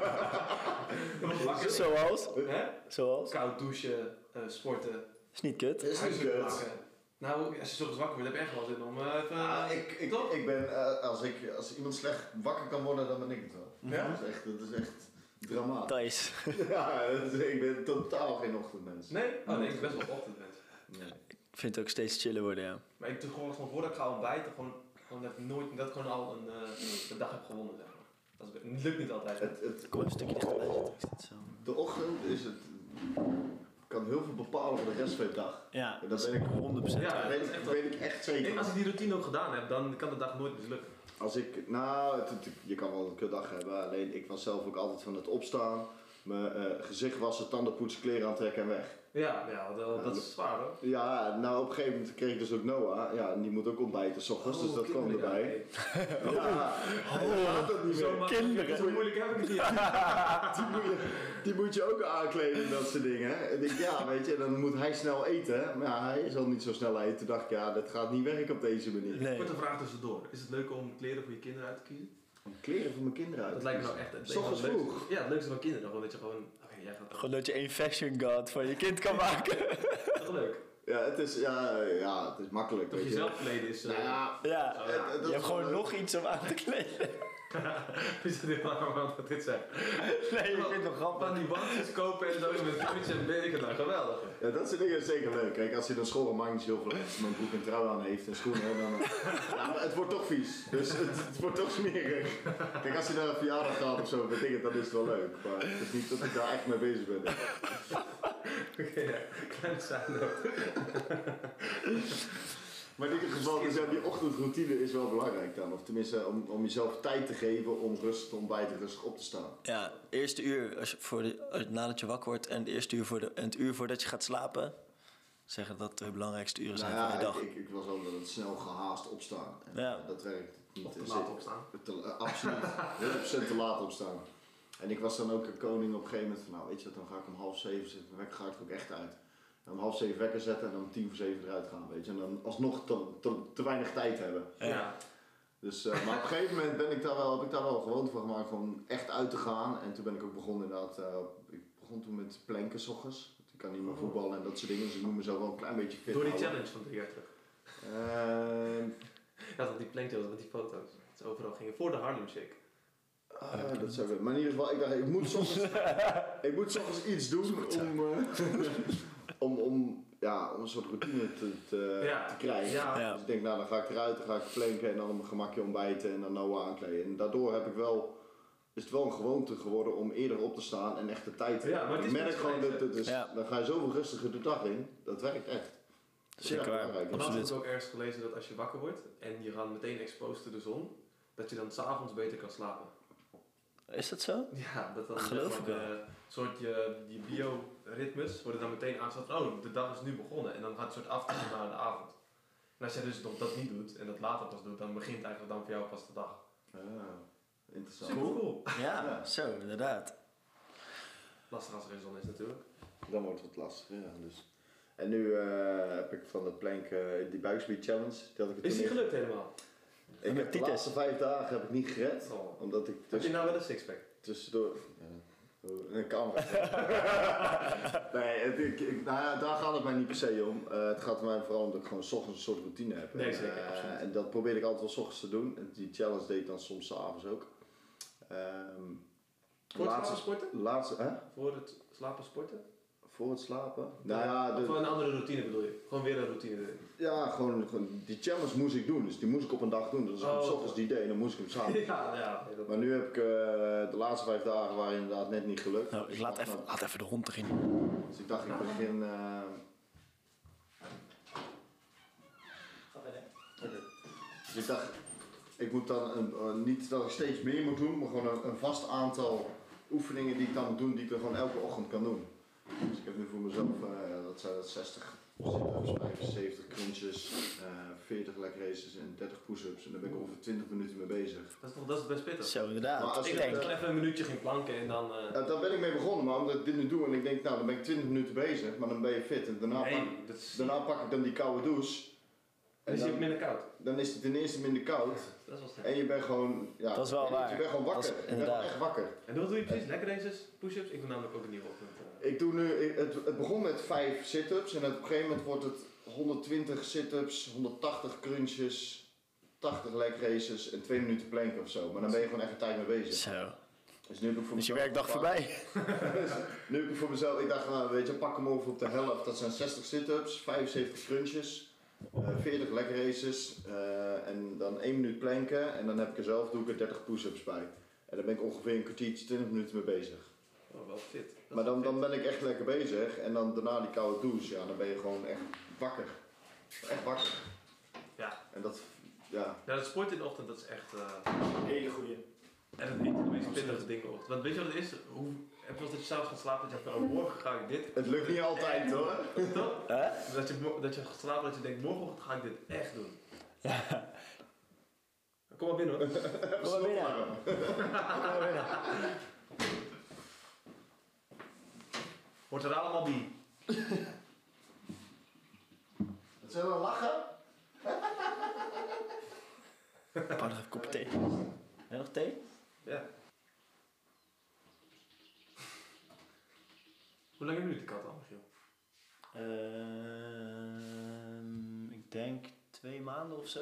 Speaker 4: Dan word ik wakker.
Speaker 3: Zoals?
Speaker 4: Hè?
Speaker 3: Zoals?
Speaker 4: Koud douchen, eh, sporten,
Speaker 3: Is niet kut.
Speaker 2: Is niet
Speaker 4: huiswerk
Speaker 2: kut.
Speaker 4: maken. Nou, als je soms wakker wordt, heb je echt wel zin om eh, even...
Speaker 2: Ah, ik, ik,
Speaker 4: Toch?
Speaker 2: ik ben, eh, als, ik, als iemand slecht wakker kan worden, dan ben ik het wel.
Speaker 4: Ja?
Speaker 2: Dat is echt, dat is echt dramatisch.
Speaker 3: Thijs.
Speaker 2: Ja, dat is- ik ben totaal geen ochtendmens.
Speaker 4: Nee? Oh nee, ik ben best wel ochtendmens.
Speaker 2: Nee.
Speaker 3: Ik vind het ook steeds chiller worden, ja.
Speaker 4: Maar ik doe gewoon van voordat ik ga ontbijten, gewoon, gewoon dat ik nooit, dat ik gewoon al een, eh, een dag heb gewonnen, zeg maar. Dat is, het lukt niet altijd.
Speaker 2: Het, het,
Speaker 3: Kom even een stukje dichterbij zitten. Ik zit zo.
Speaker 2: de ochtend is het, kan heel veel bepalen voor de rest van je dag.
Speaker 3: Ja,
Speaker 2: Dat ben ik
Speaker 3: 100%.
Speaker 4: Ja.
Speaker 2: Dat weet, ik- dat weet ik echt zeker.
Speaker 4: Ik- als ik die routine ook gedaan heb, dan kan de dag nooit mislukken.
Speaker 2: Als ik, nou, het- het- je kan wel een kutdag hebben, alleen ik was zelf ook altijd van het opstaan, mijn eh, gezicht wassen, tanden poetsen, kleren aantrekken en weg.
Speaker 4: Ja, ja dat, dat
Speaker 2: Ja,
Speaker 4: is zwaar hoor.
Speaker 2: Ja, nou op een gegeven moment kreeg ik dus ook Noah, ja, en die moet ook ontbijten s ochtends,
Speaker 4: Oh,
Speaker 2: dus dat kwam erbij. Ja, hij gaat het niet meer.
Speaker 3: Kinderen.
Speaker 4: Zo moeilijk heb ik het niet.
Speaker 2: Die moet, je, die moet je ook aankleden en dat soort dingen. Ik denk, ja, weet je, dan moet hij snel eten, maar ja, hij zal niet zo snel eten. Toen dacht ik, ja, dat gaat niet werken op deze manier.
Speaker 3: Nee.
Speaker 4: Korte vraag tussendoor. Is het leuk om kleren voor je kinderen uit te kiezen?
Speaker 2: Kleren voor mijn kinderen uit.
Speaker 4: Dat lijkt me nou echt het
Speaker 2: S ochtends
Speaker 4: leukste-
Speaker 2: vroeg.
Speaker 4: Ja, het leukste van kinderen. Gewoon dat je gewoon, oké, jij gaat
Speaker 3: Gewoon dat je één fashion god van je kind kan maken.
Speaker 4: Toch leuk.
Speaker 2: Ja, het is, ja, ja, het is makkelijk.
Speaker 4: Dat
Speaker 2: weet
Speaker 4: je
Speaker 2: je.
Speaker 4: zelf kleden is. eh,
Speaker 2: Nou ja,
Speaker 3: Ja.
Speaker 4: zo, ja.
Speaker 2: dat
Speaker 3: Je
Speaker 2: is
Speaker 3: hebt gewoon
Speaker 2: wel leuk.
Speaker 3: nog iets om aan te kleden.
Speaker 4: Is het heel lang wat dit zijn?
Speaker 3: Nee, ik vind het grappig.
Speaker 4: Van die bandjes kopen en zo met fiets en weet ik het nou. Geweldig.
Speaker 2: Ja, dat soort dingen is zeker leuk. Kijk, als je dan school maakt niet zoveel uit. Als mijn broek en trui aan heeft en schoenen, dan... Ja, maar het wordt toch vies. Dus het, het wordt toch smerig. Kijk, als je naar een verjaardag gaat of zo, weet ik het, dan is het wel leuk. Maar het is niet dat ik daar echt mee bezig ben.
Speaker 4: Oké, ja. Kleine side note.
Speaker 2: Maar in ieder geval, dus ja, die ochtendroutine is wel belangrijk dan. Of tenminste, om, om jezelf tijd te geven om rustig te ontbijten, rustig op te staan.
Speaker 3: Ja, eerste uur als je voor de, als- nadat je wakker wordt en, de eerste uur voor de, en het uur voordat je gaat slapen. Zeggen dat de belangrijkste uren zijn
Speaker 2: Nou ja,
Speaker 3: van je dag.
Speaker 2: Ik, ik, ik was wel dat het snel gehaast opstaan. En
Speaker 3: Ja.
Speaker 2: Dat werkt niet.
Speaker 4: Of te
Speaker 2: Dus
Speaker 4: laat
Speaker 2: ik-
Speaker 4: opstaan.
Speaker 2: Te, eh, absoluut. 100% te laat opstaan. En ik was dan ook een koning op een gegeven moment van, nou weet je wat, dan ga ik om half zeven zitten, dan ga ik er ook echt uit. En om half zeven wekker zetten en dan om tien voor zeven eruit gaan, weet je. En dan alsnog te, te, te weinig tijd hebben.
Speaker 4: Ja.
Speaker 2: Dus, eh, maar op een gegeven moment ben ik daar wel, heb ik daar wel gewoonte van gemaakt om echt uit te gaan. En toen ben ik ook begonnen inderdaad, eh, ik begon toen met planken 's ochtends. Ik kan niet meer voetballen en dat soort dingen, dus ik moet mezelf wel een klein beetje fit
Speaker 4: Oh. Door die
Speaker 2: houden.
Speaker 4: challenge van drie jaar terug.
Speaker 2: Ehm,
Speaker 4: Ja, dat die plankje was met die foto's. Dat ze overal gingen voor de Harlem Shake.
Speaker 2: Ah,
Speaker 3: Ehm,
Speaker 2: dat zou ik. Maar in ieder geval, ik dacht, ik moet soms, ik moet soms iets doen om, eh, om, om, ja, om een soort routine te, te,
Speaker 4: Ja.
Speaker 2: te krijgen.
Speaker 4: Ja.
Speaker 3: Ja.
Speaker 2: Dus ik denk, nou, dan ga ik eruit, dan ga ik planken en dan op mijn gemakje ontbijten en dan Noah aankleden. En daardoor heb ik wel, is het wel een gewoonte geworden om eerder op te staan en echt de tijd te
Speaker 4: Ja, maar het is
Speaker 2: Ik merk
Speaker 4: best
Speaker 2: gewoon,
Speaker 4: fijn,
Speaker 2: dat, dat is,
Speaker 3: Ja.
Speaker 2: dan ga je zoveel rustiger de dag in. Dat werkt echt. Dat is
Speaker 3: Zeker
Speaker 2: echt
Speaker 3: waar.
Speaker 2: belangrijk.
Speaker 4: Vandaag
Speaker 3: Absoluut.
Speaker 4: heb ik ook ergens gelezen dat als je wakker wordt en je gaat meteen exposed to de zon, dat je dan s'avonds beter kan slapen.
Speaker 3: Is dat zo?
Speaker 4: Ja, dat dan
Speaker 3: Geloof
Speaker 4: zeg
Speaker 3: ik
Speaker 4: maar, de soort je, die bioritmes worden dan meteen aangezet van oh, de dag is nu begonnen en dan gaat het soort aftrekken naar de avond. En als jij dus nog dat niet doet en dat later pas doet, dan begint eigenlijk dan voor jou pas de dag.
Speaker 2: Ah, interessant.
Speaker 4: Super cool.
Speaker 3: Ja,
Speaker 2: Ja.
Speaker 3: zo, inderdaad.
Speaker 4: Lastig als er geen zon is natuurlijk.
Speaker 2: Dan wordt het lastig, ja. Dus. En nu eh, heb ik van de plank eh, die buikspier challenge. Die had ik er
Speaker 4: Is die
Speaker 2: toen in-
Speaker 4: gelukt helemaal?
Speaker 2: Ik
Speaker 3: Met
Speaker 2: heb de
Speaker 3: Titus.
Speaker 2: laatste vijf dagen heb ik niet gered.
Speaker 4: Oh.
Speaker 2: Omdat ik
Speaker 4: Heb
Speaker 2: tuss-
Speaker 4: je nou wel een sixpack?
Speaker 2: tussendoor... Ja, oh, een camera. nee, het, ik, ik- nou ja, daar gaat het mij niet per se om. Eh, het gaat mij vooral om dat ik gewoon 's ochtends een soort routine heb.
Speaker 4: Nee,
Speaker 2: En,
Speaker 4: zeker,
Speaker 2: eh,
Speaker 4: absoluut.
Speaker 2: En dat probeer ik altijd wel 's ochtends te doen. En die challenge deed ik dan soms 's avonds ook. Ehm,
Speaker 4: Voor het
Speaker 2: laatste-
Speaker 4: slapen sporten?
Speaker 2: laatste, hè?
Speaker 4: Voor het slapen sporten?
Speaker 2: Voor het slapen? Nou ja, de-
Speaker 4: Of een andere routine bedoel je? Gewoon weer een routine erin.
Speaker 2: Ja, gewoon, gewoon die challenge moest ik doen. Dus die moest ik op een dag doen. Dus als ik hem
Speaker 4: Oh.
Speaker 2: s ochtends die deed, dan moest ik hem samen.
Speaker 4: Ja, ja. nee, dat-
Speaker 2: maar nu heb ik eh, de laatste vijf dagen waren inderdaad net niet gelukt.
Speaker 3: Nou, ik laat
Speaker 2: Dus
Speaker 3: even, laat even de hond erin.
Speaker 2: Dus ik dacht, ik begin. eh, dus ik dacht, ik moet dan een, eh, niet dat ik steeds meer moet doen, maar gewoon een, een vast aantal oefeningen die ik dan moet doen, die ik dan gewoon elke ochtend kan doen. Dus ik heb nu voor mezelf, eh, ja, dat zijn dat 60 sit-ups, 75 crunches, eh, 40 leg races en 30 push-ups. En daar ben ik ongeveer 20 minuten mee bezig.
Speaker 4: Dat is, toch- dat is best pittig.
Speaker 3: Zo,
Speaker 2: Maar
Speaker 3: inderdaad.
Speaker 2: als
Speaker 3: Ik
Speaker 2: je-
Speaker 3: denk,
Speaker 4: Gewoon even een minuutje geen planken en dan... eh,
Speaker 2: Eh, daar ben ik mee begonnen, maar omdat ik dit nu doe en ik denk, nou dan ben ik 20 minuten bezig, maar dan ben je fit en daarna, pak,
Speaker 4: nee, dat is...
Speaker 2: daarna pak ik dan die koude douche. En
Speaker 4: Dus je hebt
Speaker 2: dan,
Speaker 4: minder koud.
Speaker 2: dan is het ten eerste minder koud.
Speaker 4: Dat is wel sterk.
Speaker 2: En je bent gewoon... Ja,
Speaker 3: Dat is wel
Speaker 2: je-
Speaker 3: waar.
Speaker 2: Je bent gewoon
Speaker 3: Dat is
Speaker 2: wakker. Je bent
Speaker 3: inderdaad.
Speaker 2: gewoon echt wakker.
Speaker 4: En wat doe je precies? Lekker races, push-ups? Ik wil namelijk ook een nieuwe ochtend. eh.
Speaker 2: Ik doe nu, ik- het, het begon met 5 sit-ups en op een gegeven moment wordt het 120 sit-ups, 180 crunches, 80 leg races en 2 minuten plank of zo. Maar dan ben je gewoon even tijd mee bezig.
Speaker 3: Zo.
Speaker 2: Dus nu heb ik voor
Speaker 3: Dus je
Speaker 2: mezelf
Speaker 3: werkdag
Speaker 2: gepakt-
Speaker 3: voorbij.
Speaker 2: Nu heb ik voor mezelf, ik dacht, nou, weet je, pak hem over op de helft. Dat zijn 60 sit-ups, 75 crunches, eh, 40 leg races eh, en dan 1 minuut planken. En dan heb ik er zelf, doe ik er 30 push-ups bij. En daar ben ik ongeveer een kwartiertje, 20 minuten mee bezig.
Speaker 4: Oh, wel fit. Dat is
Speaker 2: Maar dan,
Speaker 4: wel
Speaker 2: dan
Speaker 4: fit.
Speaker 2: ben ik echt lekker bezig en dan daarna die koude douche, ja, dan ben je gewoon echt wakker. Echt wakker.
Speaker 4: Ja.
Speaker 2: En dat, ja.
Speaker 4: Ja, dat sport in de ochtend, dat is echt... eh,
Speaker 3: Hele goede.
Speaker 4: En het is de meest pittige ding ooit. Want weet je wat het is? Hoe, heb je wel eens dat je s'avonds gaat slapen dat je denkt, oh, morgen ga ik dit oh,
Speaker 2: Het lukt niet altijd hoor.
Speaker 4: toch? Dus
Speaker 3: Hè?
Speaker 4: Dat je, mo- dat je gaat slapen dat je denkt, morgen ga ik dit echt doen. Kom maar binnen hoor.
Speaker 3: Kom maar binnen. Kom maar binnen.
Speaker 4: Hoort er allemaal bij.
Speaker 2: Dat zijn wel lachen.
Speaker 3: Pak nog een kopje thee. Heb je nog thee?
Speaker 4: Ja. Hoe lang hebben jullie de kat al, Michiel?
Speaker 3: Ehm, ik denk twee maanden of zo.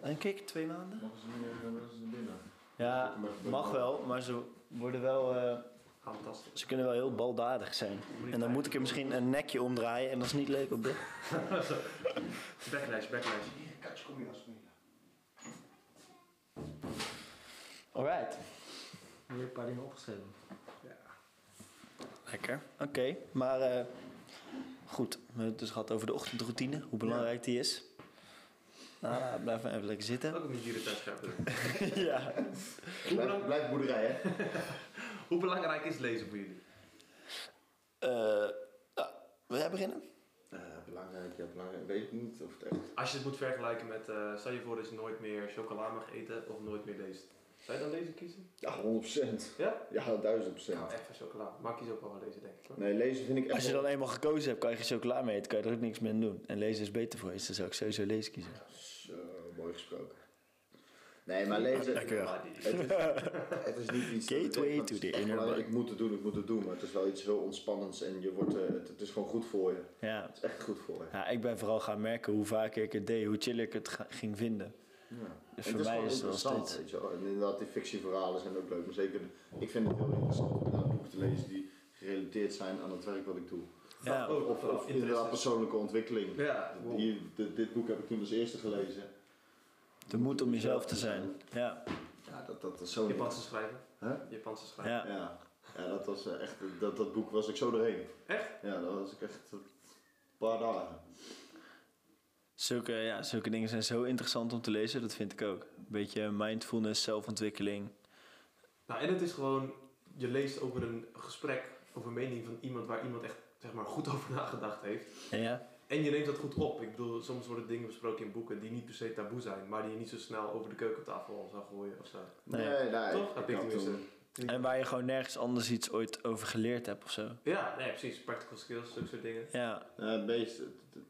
Speaker 3: En kijk, twee maanden.
Speaker 2: Mogen ze niet binnen?
Speaker 3: Ja, mag wel, maar ze worden wel, eh,
Speaker 4: Ah, Fantastisch.
Speaker 3: ze kunnen wel heel baldadig zijn. En dan moet ik er misschien een nekje omdraaien en dat is niet leuk op dit.
Speaker 4: Backlash, backlash.
Speaker 2: Katje, kom hier alsjeblieft.
Speaker 3: Alright. Ik heb een paar dingen opgeschreven.
Speaker 4: Ja.
Speaker 3: Lekker. Oké, maar eh, goed. We hebben het dus gehad over de ochtendroutine, hoe belangrijk die is. Nou, blijf maar even lekker zitten.
Speaker 4: Ook een hier thuis gaan doen.
Speaker 3: ja.
Speaker 4: Hoe
Speaker 2: Blijf,
Speaker 4: belang-
Speaker 2: blijf boerderij hè.
Speaker 4: Hoe belangrijk is lezen voor jullie?
Speaker 3: Eh, ja, wil jij beginnen?
Speaker 2: Eh, belangrijk, ja belangrijk. Weet ik niet of het echt...
Speaker 4: Als je het moet vergelijken met, eh stel je voor dat je nooit meer chocola mag eten of nooit meer leest. Zou je dan lezen kiezen?
Speaker 2: Ja, 100%.
Speaker 4: Ja? Nou,
Speaker 2: Ja, 1000%.
Speaker 4: Ik hou echt van chocola. Maar ik kies ook wel van lezen, denk ik. hoor.
Speaker 2: Nee, lezen vind ik echt
Speaker 3: Als je
Speaker 2: wel-
Speaker 3: dan eenmaal gekozen hebt, kan je geen chocola meer eten, kan je er ook niks meer aan doen. En lezen is beter voor je, dus dan zou ik sowieso lezen kiezen.
Speaker 2: Zo, mooi gesproken. Nee, maar lezen...
Speaker 3: Lekker.
Speaker 4: Maar die-
Speaker 2: Het is, het is niet iets... dat ik
Speaker 3: Gateway
Speaker 2: denk van,
Speaker 3: to the
Speaker 2: het is echt
Speaker 3: inner
Speaker 2: wel,
Speaker 3: body.
Speaker 2: Ik moet het doen, ik moet het doen. Maar het is wel iets heel ontspannends en je wordt, eh, het, het is gewoon goed voor je.
Speaker 3: Ja.
Speaker 2: Het is echt goed voor je.
Speaker 3: ja, ik ben vooral gaan merken hoe vaker ik het deed, hoe chiller ik het ga- ging vinden.
Speaker 2: Ja.
Speaker 3: Dus
Speaker 2: En
Speaker 3: voor mij
Speaker 2: gewoon
Speaker 3: is het wel
Speaker 2: interessant,
Speaker 3: steeds.
Speaker 2: weet je wel. En inderdaad, die fictieverhalen zijn ook leuk. Maar zeker, ik vind het heel interessant om inderdaad boeken te lezen die gerelateerd zijn aan het werk wat ik doe.
Speaker 3: Ja,
Speaker 4: Oh,
Speaker 2: Of, of
Speaker 4: interesse.
Speaker 2: inderdaad persoonlijke ontwikkeling.
Speaker 4: Ja, wow.
Speaker 2: Hier, dit, dit boek heb ik toen als eerste gelezen.
Speaker 3: de moed om jezelf te zijn. Ja,
Speaker 2: Ja, dat, dat is zo...
Speaker 4: Japanse schrijven.
Speaker 2: Huh?
Speaker 4: Japanse schrijven.
Speaker 3: ja.
Speaker 2: Ja. ja, dat was eh, echt... Dat, dat boek was ik zo doorheen.
Speaker 4: Echt?
Speaker 2: Ja, dat was ik echt... eh, Een paar dagen.
Speaker 3: Zulke, ja, zulke dingen zijn zo interessant om te lezen, dat vind ik ook. Een beetje mindfulness, zelfontwikkeling.
Speaker 4: Nou, en het is gewoon, je leest over een gesprek, over een mening van iemand waar iemand echt zeg maar, goed over nagedacht heeft.
Speaker 3: Ja,
Speaker 4: En je neemt dat goed op. Ik bedoel, soms worden dingen besproken in boeken die niet per se taboe zijn, maar die je niet zo snel over de keukentafel zou gooien of zo.
Speaker 3: Nee.
Speaker 2: Nee, nee.
Speaker 4: Toch? Heb ik
Speaker 2: had
Speaker 4: tenminste.
Speaker 2: toen-
Speaker 3: en waar je gewoon nergens anders iets ooit over geleerd hebt of zo.
Speaker 4: Ja, nee, precies. Practical skills, zulke soort dingen.
Speaker 3: Ja,
Speaker 2: Ja, het beest, het- het-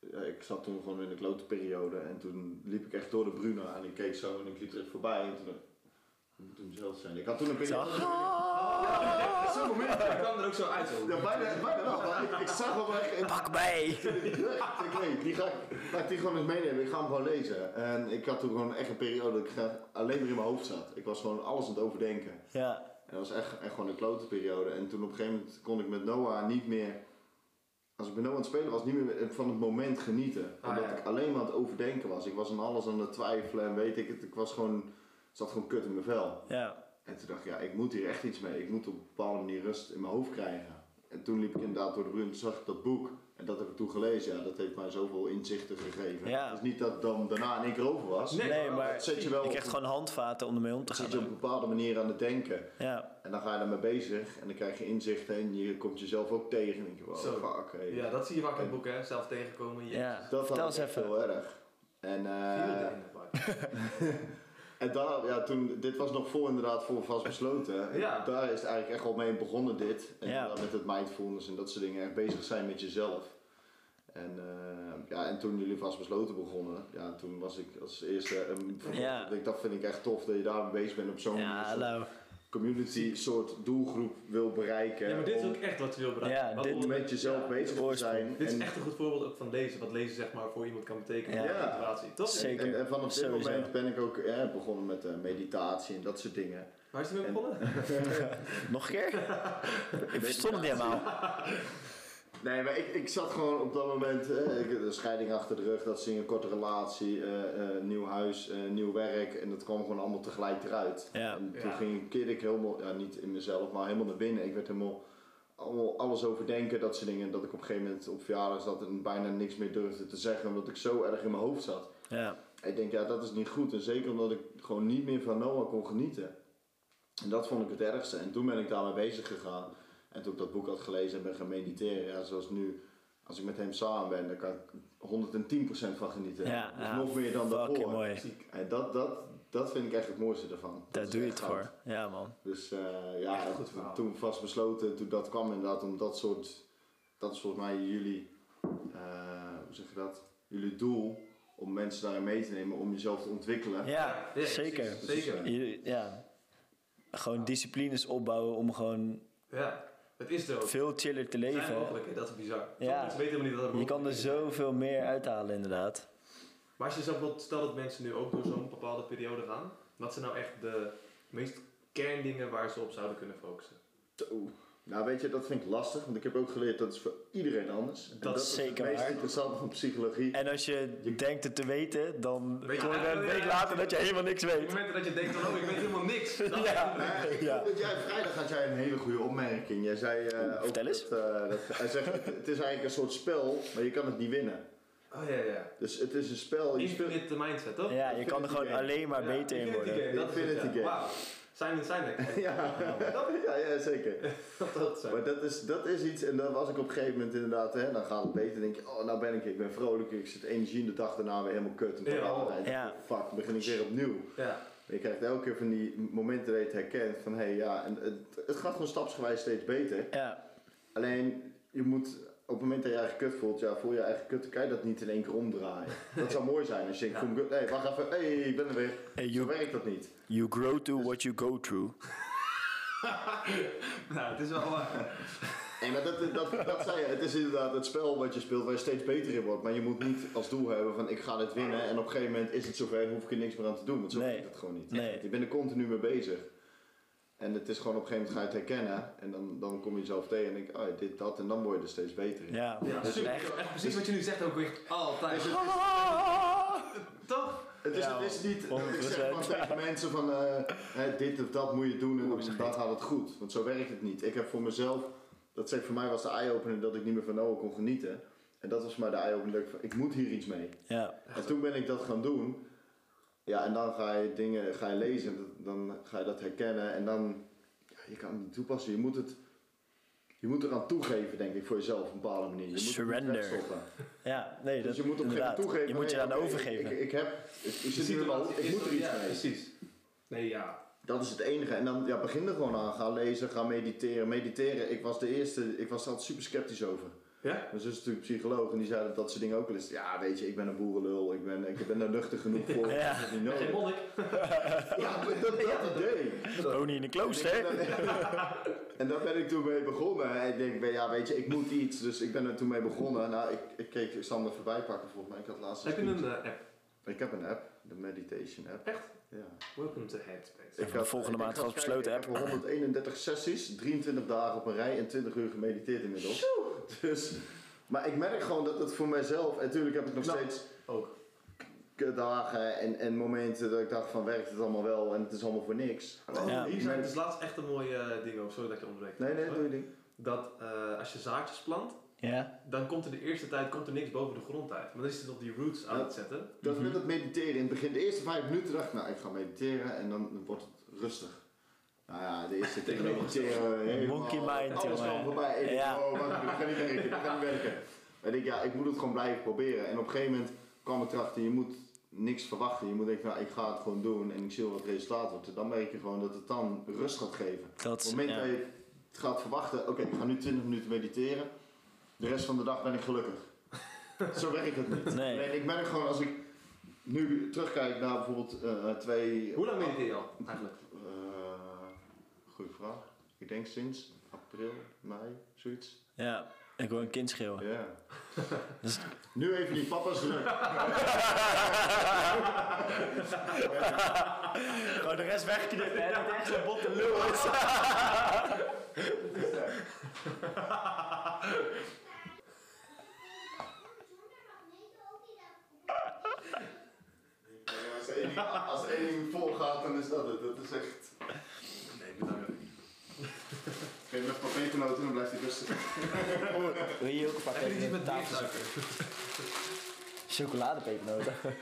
Speaker 2: het- ja, ik zat toen gewoon in de klote periode en toen liep ik echt door de Bruna en ik keek zo en ik liep er echt voorbij en toen dacht ik, "Het moet hem zelf zijn. Ik had toen een periode...
Speaker 4: Zo'n moment kwam er ook zo uit. Zo.
Speaker 2: Ja, bijna, bijna wel. maar Ik, ik zag hem echt en
Speaker 3: pak bij!
Speaker 2: ik dacht, nee, die ga ik, laat ik die gewoon eens meenemen. Ik ga hem gewoon lezen. En ik had toen gewoon echt een periode dat ik graag alleen maar in mijn hoofd zat. Ik was gewoon alles aan het overdenken.
Speaker 3: Ja,
Speaker 2: En dat was echt, echt gewoon een klote periode. En toen op een gegeven moment kon ik met Noah niet meer... Als ik met Noah aan het spelen was, niet meer van het moment genieten.
Speaker 4: Ah,
Speaker 2: omdat
Speaker 4: ja.
Speaker 2: ik alleen maar aan het overdenken was. Ik was aan alles aan het twijfelen en weet ik het. Ik was gewoon... zat gewoon kut in mijn vel.
Speaker 3: ja.
Speaker 2: En toen dacht ik, ja, ik moet hier echt iets mee. Ik moet op een bepaalde manier rust in mijn hoofd krijgen. En toen liep ik inderdaad door de brun. Toen zag ik dat boek. En dat heb ik toen gelezen. Ja, dat heeft mij zoveel inzichten gegeven.
Speaker 3: Ja.
Speaker 2: Dus niet dat het dan daarna in één keer over was.
Speaker 4: Nee,
Speaker 3: Nee,
Speaker 4: maar
Speaker 3: maar
Speaker 2: dat zet je wel
Speaker 3: je krijgt
Speaker 2: op-
Speaker 3: gewoon handvaten om ermee om te
Speaker 2: Dan zit je op een
Speaker 3: gaan.
Speaker 2: bepaalde manier aan het denken.
Speaker 3: Ja,
Speaker 2: En dan ga je daarmee bezig en dan krijg je inzichten en je komt jezelf ook tegen en denk je, wow,
Speaker 4: Zo.
Speaker 2: fuck. hey.
Speaker 4: Ja, dat zie je vaak in boeken, hè. Zelf tegenkomen. Jezus.
Speaker 3: ja.
Speaker 2: Dat
Speaker 3: Vertel
Speaker 2: had
Speaker 3: eens
Speaker 2: ik echt
Speaker 3: even.
Speaker 2: heel erg. En, eh,
Speaker 4: Viel er in de bak.
Speaker 2: en daar, ja, toen, dit was nog voor inderdaad voor vastbesloten.
Speaker 4: Ja.
Speaker 2: Daar is het eigenlijk echt al mee begonnen dit. En
Speaker 3: Ja.
Speaker 2: dan met het mindfulness en dat soort dingen. Echt bezig zijn met jezelf. En eh, ja, en toen jullie vastbesloten begonnen, ja, toen was ik als eerste. een-
Speaker 3: Ja.
Speaker 2: Ik, dat vind ik echt tof dat je daarmee bezig bent op zo'n
Speaker 3: Ja,
Speaker 2: soort
Speaker 3: hallo.
Speaker 2: community, soort doelgroep wil bereiken.
Speaker 4: Ja, maar dit is
Speaker 2: om,
Speaker 4: ook echt wat je wil bereiken.
Speaker 3: Ja,
Speaker 4: Wat
Speaker 3: dit-
Speaker 2: om
Speaker 4: onder-
Speaker 2: met jezelf
Speaker 4: ja.
Speaker 2: bezig te
Speaker 3: Oorsprong.
Speaker 2: zijn.
Speaker 4: Dit is
Speaker 2: eh, en-
Speaker 4: echt een goed voorbeeld ook van lezen. Wat lezen zeg maar voor iemand kan betekenen.
Speaker 3: Ja.
Speaker 4: Ja. situatie, toch?
Speaker 3: Zeker.
Speaker 2: En, en vanaf dit
Speaker 3: Sowieso.
Speaker 2: moment ben ik ook eh, begonnen met eh, meditatie en dat soort dingen.
Speaker 4: Waar is hij mee
Speaker 2: En-
Speaker 4: begonnen?
Speaker 3: Nog een keer? ik verstond het niet helemaal.
Speaker 2: Nee, maar ik, ik zat gewoon op dat moment, eh, ik, de scheiding achter de rug, dat zingen, een korte relatie, eh, eh, nieuw huis, eh, nieuw werk. En dat kwam gewoon allemaal tegelijk eruit.
Speaker 3: Ja.
Speaker 2: En toen
Speaker 4: Ja.
Speaker 2: ging, keerde ik helemaal, ja, niet in mezelf, maar helemaal naar binnen. Ik werd helemaal, allemaal alles overdenken, dat soort dingen. Dat ik op een gegeven moment op verjaardag zat en bijna niks meer durfde te zeggen, omdat ik zo erg in mijn hoofd zat.
Speaker 3: Ja,
Speaker 2: Ik denk, ja, dat is niet goed. En zeker omdat ik gewoon niet meer van Noah kon genieten. En dat vond ik het ergste. En toen ben ik daarmee bezig gegaan. En toen ik dat boek had gelezen en ben gaan mediteren. Ja, zoals nu, als ik met hem samen ben, dan kan ik 110% van genieten.
Speaker 3: ja,
Speaker 2: Dus
Speaker 3: ja.
Speaker 2: nog meer dan
Speaker 3: Fucking
Speaker 2: daarvoor.
Speaker 3: mooi.
Speaker 2: En dat, dat, dat vind ik echt het mooiste ervan. Dat
Speaker 3: Daar
Speaker 2: is
Speaker 3: doe je
Speaker 2: echt
Speaker 3: het
Speaker 2: goud.
Speaker 3: voor. Ja, man.
Speaker 2: Dus eh, ja,
Speaker 4: Echt een goed
Speaker 2: toen-
Speaker 4: verhaal.
Speaker 2: toen vastbesloten, toen dat kwam inderdaad om dat soort, dat is volgens mij jullie, eh, hoe zeg je dat, jullie doel om mensen daarin mee te nemen, om jezelf te ontwikkelen.
Speaker 3: Ja,
Speaker 4: Ja,
Speaker 3: zeker.
Speaker 4: precies. Zeker.
Speaker 3: Je- Ja. Gewoon disciplines opbouwen om gewoon
Speaker 4: Ja, het is er ook.
Speaker 3: veel chiller te
Speaker 4: Het zijn
Speaker 3: leven.
Speaker 4: mogelijkheden, dat is bizar.
Speaker 3: Ja.
Speaker 4: Sommige mensen weten helemaal niet dat er
Speaker 3: Je kan dus, er
Speaker 4: mogelijkheden
Speaker 3: zoveel meer uithalen, inderdaad.
Speaker 4: Maar als je zelf wilt, stel dat mensen nu ook door zo'n bepaalde periode gaan, wat zijn nou echt de meest kerndingen waar ze op zouden kunnen focussen?
Speaker 2: Zo. Nou weet je, dat vind ik lastig, want ik heb ook geleerd dat is voor iedereen anders. En
Speaker 3: Dat is zeker
Speaker 2: het meest
Speaker 3: waar.
Speaker 2: interessante van psychologie.
Speaker 3: En als je denkt het te weten, dan
Speaker 4: Weet je-
Speaker 3: kom je er een week later dat je helemaal niks
Speaker 4: Op het
Speaker 3: weet.
Speaker 4: moment dat je denkt van, oh, ik weet helemaal niks. Dan
Speaker 3: Ja.
Speaker 2: Maar ik
Speaker 3: Ja.
Speaker 2: vond dat jij, vrijdag had jij een hele goede opmerking. Jij zei eh,
Speaker 3: Oeh,
Speaker 2: ook
Speaker 3: vertel eens.
Speaker 2: Dat, eh, dat, hij zegt, het het is eigenlijk een soort spel, maar je kan het niet winnen.
Speaker 4: Oh ja, ja.
Speaker 2: Dus het is een spel. Je speelt,
Speaker 4: Infinite mindset, toch?
Speaker 3: Ja, je kan er gewoon alleen maar
Speaker 4: Ja,
Speaker 3: beter in
Speaker 4: infinity
Speaker 3: worden.
Speaker 4: game, dat is het,
Speaker 2: Infinity
Speaker 4: ja.
Speaker 2: game.
Speaker 4: Wauw. Simon Sinek.
Speaker 2: ja. ja, ja, zeker.
Speaker 4: Dat dat zijn.
Speaker 2: Maar dat is, dat is iets, en dan was ik op een gegeven moment inderdaad, hè, dan gaat het beter. Dan denk je, oh, nou ben ik, ik ben vrolijk, ik zit energie in de dag daarna weer helemaal kut. En dan
Speaker 4: Ja.
Speaker 2: allerlei-
Speaker 3: Ja.
Speaker 2: fuck, dan begin ik weer opnieuw.
Speaker 4: Ja.
Speaker 2: En je krijgt elke keer van die momenten dat je het herkent van, hé hey, ja, en het, het gaat gewoon stapsgewijs steeds beter.
Speaker 3: Ja,
Speaker 2: Alleen, je moet, op het moment dat je je eigen kut voelt, ja, voel je je eigen kut, dan kan je dat niet in één keer omdraaien. Dat zou mooi zijn als je denkt,
Speaker 4: Ja.
Speaker 2: hé, hey, wacht even, hé, hey, ik ben er weer.
Speaker 3: Hey,
Speaker 2: Zo
Speaker 3: you,
Speaker 2: werkt dat niet.
Speaker 3: you grow to what you go through.
Speaker 4: Nou, het is wel waar.
Speaker 2: Nee, maar dat, dat, dat zei je. Het is inderdaad het spel wat je speelt waar je steeds beter in wordt. Maar je moet niet als doel hebben van ik ga dit winnen en op een gegeven moment is het zover hoef ik er niks meer aan te doen. Want zo
Speaker 3: Nee.
Speaker 2: werkt het gewoon niet.
Speaker 3: Nee.
Speaker 2: Je bent er continu mee bezig. En het is gewoon op een gegeven moment ga je het herkennen en dan, dan kom je jezelf tegen en denk ik, oh ja, dit, dat en dan word je er steeds beter in.
Speaker 3: Ja,
Speaker 4: Ja,
Speaker 3: dat is
Speaker 4: super.
Speaker 3: echt.
Speaker 4: Echt precies wat je nu zegt ook echt altijd.
Speaker 2: Dus het,
Speaker 4: Toch?
Speaker 2: het is,
Speaker 3: Ja,
Speaker 2: het is niet dat ik
Speaker 3: 100%.
Speaker 2: zeg van tegen mensen van eh, hè, dit of dat moet je doen en op- dan gaat het goed. Want zo werkt het niet. Ik heb voor mezelf, dat zeg ik, voor mij was de eye-opener dat ik niet meer van Noah kon genieten. En dat was voor mij de eye-opener dat ik van, ik moet hier iets mee.
Speaker 3: Ja,
Speaker 2: En toen ben ik dat gaan doen. Ja, en dan ga je dingen ga je lezen, dat- dan ga je dat herkennen en dan ja, je kan het toepassen. Je moet het je moet eraan toegeven, denk ik, voor jezelf op een bepaalde manier. Je moet het niet
Speaker 3: Surrender.
Speaker 2: wegstoppen.
Speaker 3: ja, nee, dat
Speaker 2: dus je moet op een gegeven
Speaker 3: inderdaad.
Speaker 2: moment toegeven.
Speaker 3: Je moet je
Speaker 2: hey,
Speaker 3: aan
Speaker 2: oké,
Speaker 3: overgeven.
Speaker 2: Ik, ik heb, ik, ik zit hier wel, ik
Speaker 4: is
Speaker 2: moet er iets
Speaker 4: ja,
Speaker 2: mee.
Speaker 4: Precies. Nee, ja.
Speaker 2: Dat is het enige. En dan ja, begin er gewoon aan. Ga lezen, ga mediteren. Mediteren, ik was de eerste, ik was er altijd super sceptisch over.
Speaker 4: Ja?
Speaker 2: Mijn zus is natuurlijk psycholoog en die zei dat dat soort dingen ook wel eens. Ja, weet je, ik ben een boerenlul, ik ben, ik ben daar nuchter genoeg voor.
Speaker 3: Ja.
Speaker 2: Dat is niet nodig.
Speaker 4: Geen monnik.
Speaker 2: Ja, dat, dat idee.
Speaker 3: Woon in een klooster.
Speaker 2: En daar ben ik toen mee begonnen. En ik denk, ben- ja, weet je, ik moet iets. Dus ik ben er toen mee begonnen. Nou, ik, ik keek, ik zal hem er voorbij pakken volgens mij. Ik had laatst
Speaker 4: Heb je
Speaker 2: eens
Speaker 4: een
Speaker 2: niet-
Speaker 4: eh, app?
Speaker 2: Ik heb een app, de meditation app.
Speaker 4: Echt?
Speaker 2: Ja.
Speaker 4: Welcome to Headspace.
Speaker 3: Ja,
Speaker 2: Ik
Speaker 3: de volgende
Speaker 2: ik
Speaker 3: maand
Speaker 2: had-
Speaker 3: vast besloten
Speaker 2: kijk, Ik heb 131 sessies, 23 dagen op een rij en 20 uur gemediteerd inmiddels. Dus, maar ik merk gewoon dat het voor mijzelf, en natuurlijk heb ik nog
Speaker 4: Nou.
Speaker 2: steeds
Speaker 4: Ook.
Speaker 2: dagen en, en momenten dat ik dacht van werkt het allemaal wel en het is allemaal voor niks.
Speaker 4: Oh,
Speaker 3: Ja.
Speaker 4: Hier zijn dus laatst echt een mooie eh, ding over. Sorry dat ik je onderbreek.
Speaker 2: Nee, nee, doe je ding.
Speaker 4: Dat eh, als je zaadjes plant,
Speaker 3: Ja,
Speaker 4: dan komt er de eerste tijd komt er niks boven de grond uit. Maar dan is het nog die roots aan
Speaker 2: Ja.
Speaker 4: het zetten.
Speaker 2: Dat met het mediteren. In het begin, de eerste vijf minuten dacht ik, nou ik ga mediteren en dan wordt het rustig. Nou ja, de eerste keer mediteren. helemaal-
Speaker 3: Monkey mind,
Speaker 2: Alles
Speaker 3: jongen.
Speaker 2: kwam voorbij. En ik
Speaker 3: Ja.
Speaker 2: dacht, oh, wacht, dat gaat niet werken, dat gaat niet werken. En ik denk, ja, ik moet het gewoon blijven proberen. En op een gegeven moment kwam ik erachter, je moet niks verwachten. Je moet denken, nou ik ga het gewoon doen en ik zie wel wat het resultaat wordt. En dan merk je gewoon dat het dan rust gaat geven.
Speaker 3: dat
Speaker 2: Op het
Speaker 3: is.
Speaker 2: moment
Speaker 3: ja.
Speaker 2: dat je het gaat verwachten, oké, ik ga nu 20 minuten mediteren. De rest van de dag ben ik gelukkig. Zo werkt het niet.
Speaker 3: Nee.
Speaker 2: Nee, ik merk gewoon als ik nu terugkijk naar bijvoorbeeld eh, twee...
Speaker 4: Hoe lang mediteer je al eigenlijk?
Speaker 2: Eh, goeie vraag. Ik denk sinds april, mei, zoiets.
Speaker 3: Ja, ik hoor een kind schreeuwen.
Speaker 2: Ja.
Speaker 3: Dus-
Speaker 2: Nu even die papa's druk. Oh,
Speaker 3: Gewoon de rest weggeknipt, hè? Dat echt zo'n botte lul is.
Speaker 2: Ja, Als één ding- als één ding volgaat, dan is dat het. Dat is echt...
Speaker 4: Nee, bedankt.
Speaker 2: Geef me even papiergenoten, dan blijft hij rustig.
Speaker 3: Wil je hier ook een pak
Speaker 4: Heb je iets met
Speaker 3: tafel?
Speaker 4: tafelsuiker?
Speaker 3: Chocoladepepernoten. Maar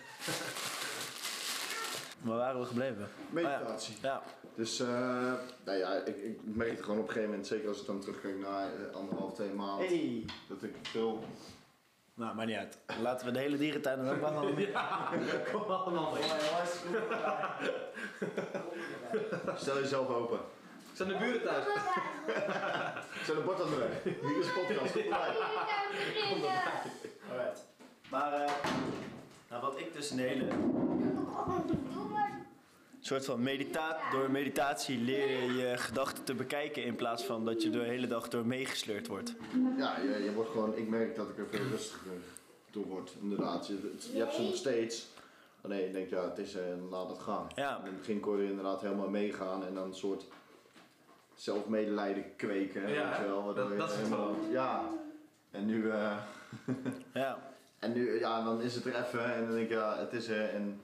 Speaker 3: waar waren we gebleven? Oh,
Speaker 2: Meditatie.
Speaker 3: Ja,
Speaker 2: Dus, eh, nou ja, ik, ik merk het gewoon op een gegeven moment, zeker als ik dan terugkijk naar eh, anderhalf, twee maanden,
Speaker 3: Hey.
Speaker 2: dat ik veel...
Speaker 3: Nou, maar niet uit. Laten we de hele dierentuin er ook maar van
Speaker 4: Kom allemaal mee.
Speaker 2: Stel jezelf open.
Speaker 4: Zijn de buren thuis?
Speaker 2: Zet een bord aan de weg. Hier is podcast. Kom erbij.
Speaker 3: Alright. Maar eh, nou, wat ik dus een hele
Speaker 1: Doe maar.
Speaker 3: soort van meditatie... Door meditatie leer je je gedachten te bekijken... in plaats van dat je de hele dag door meegesleurd wordt.
Speaker 2: Ja, je, je wordt gewoon, ik merk dat ik er veel rustiger toe word, inderdaad. Je, het- je hebt ze nog steeds. Oh Alleen je denkt, ja, het is, eh, laat het gaan.
Speaker 3: Ja.
Speaker 2: In het begin kon je inderdaad helemaal meegaan en dan een soort zelfmedelijden kweken.
Speaker 4: Ja,
Speaker 2: weet je wel,
Speaker 4: dat-
Speaker 2: waardoor je
Speaker 4: dat is het
Speaker 2: helemaal-
Speaker 4: wel.
Speaker 2: Ja. En nu... eh,
Speaker 3: Ja.
Speaker 2: En nu, ja, dan is het er even en dan denk ik, ja, het is er. En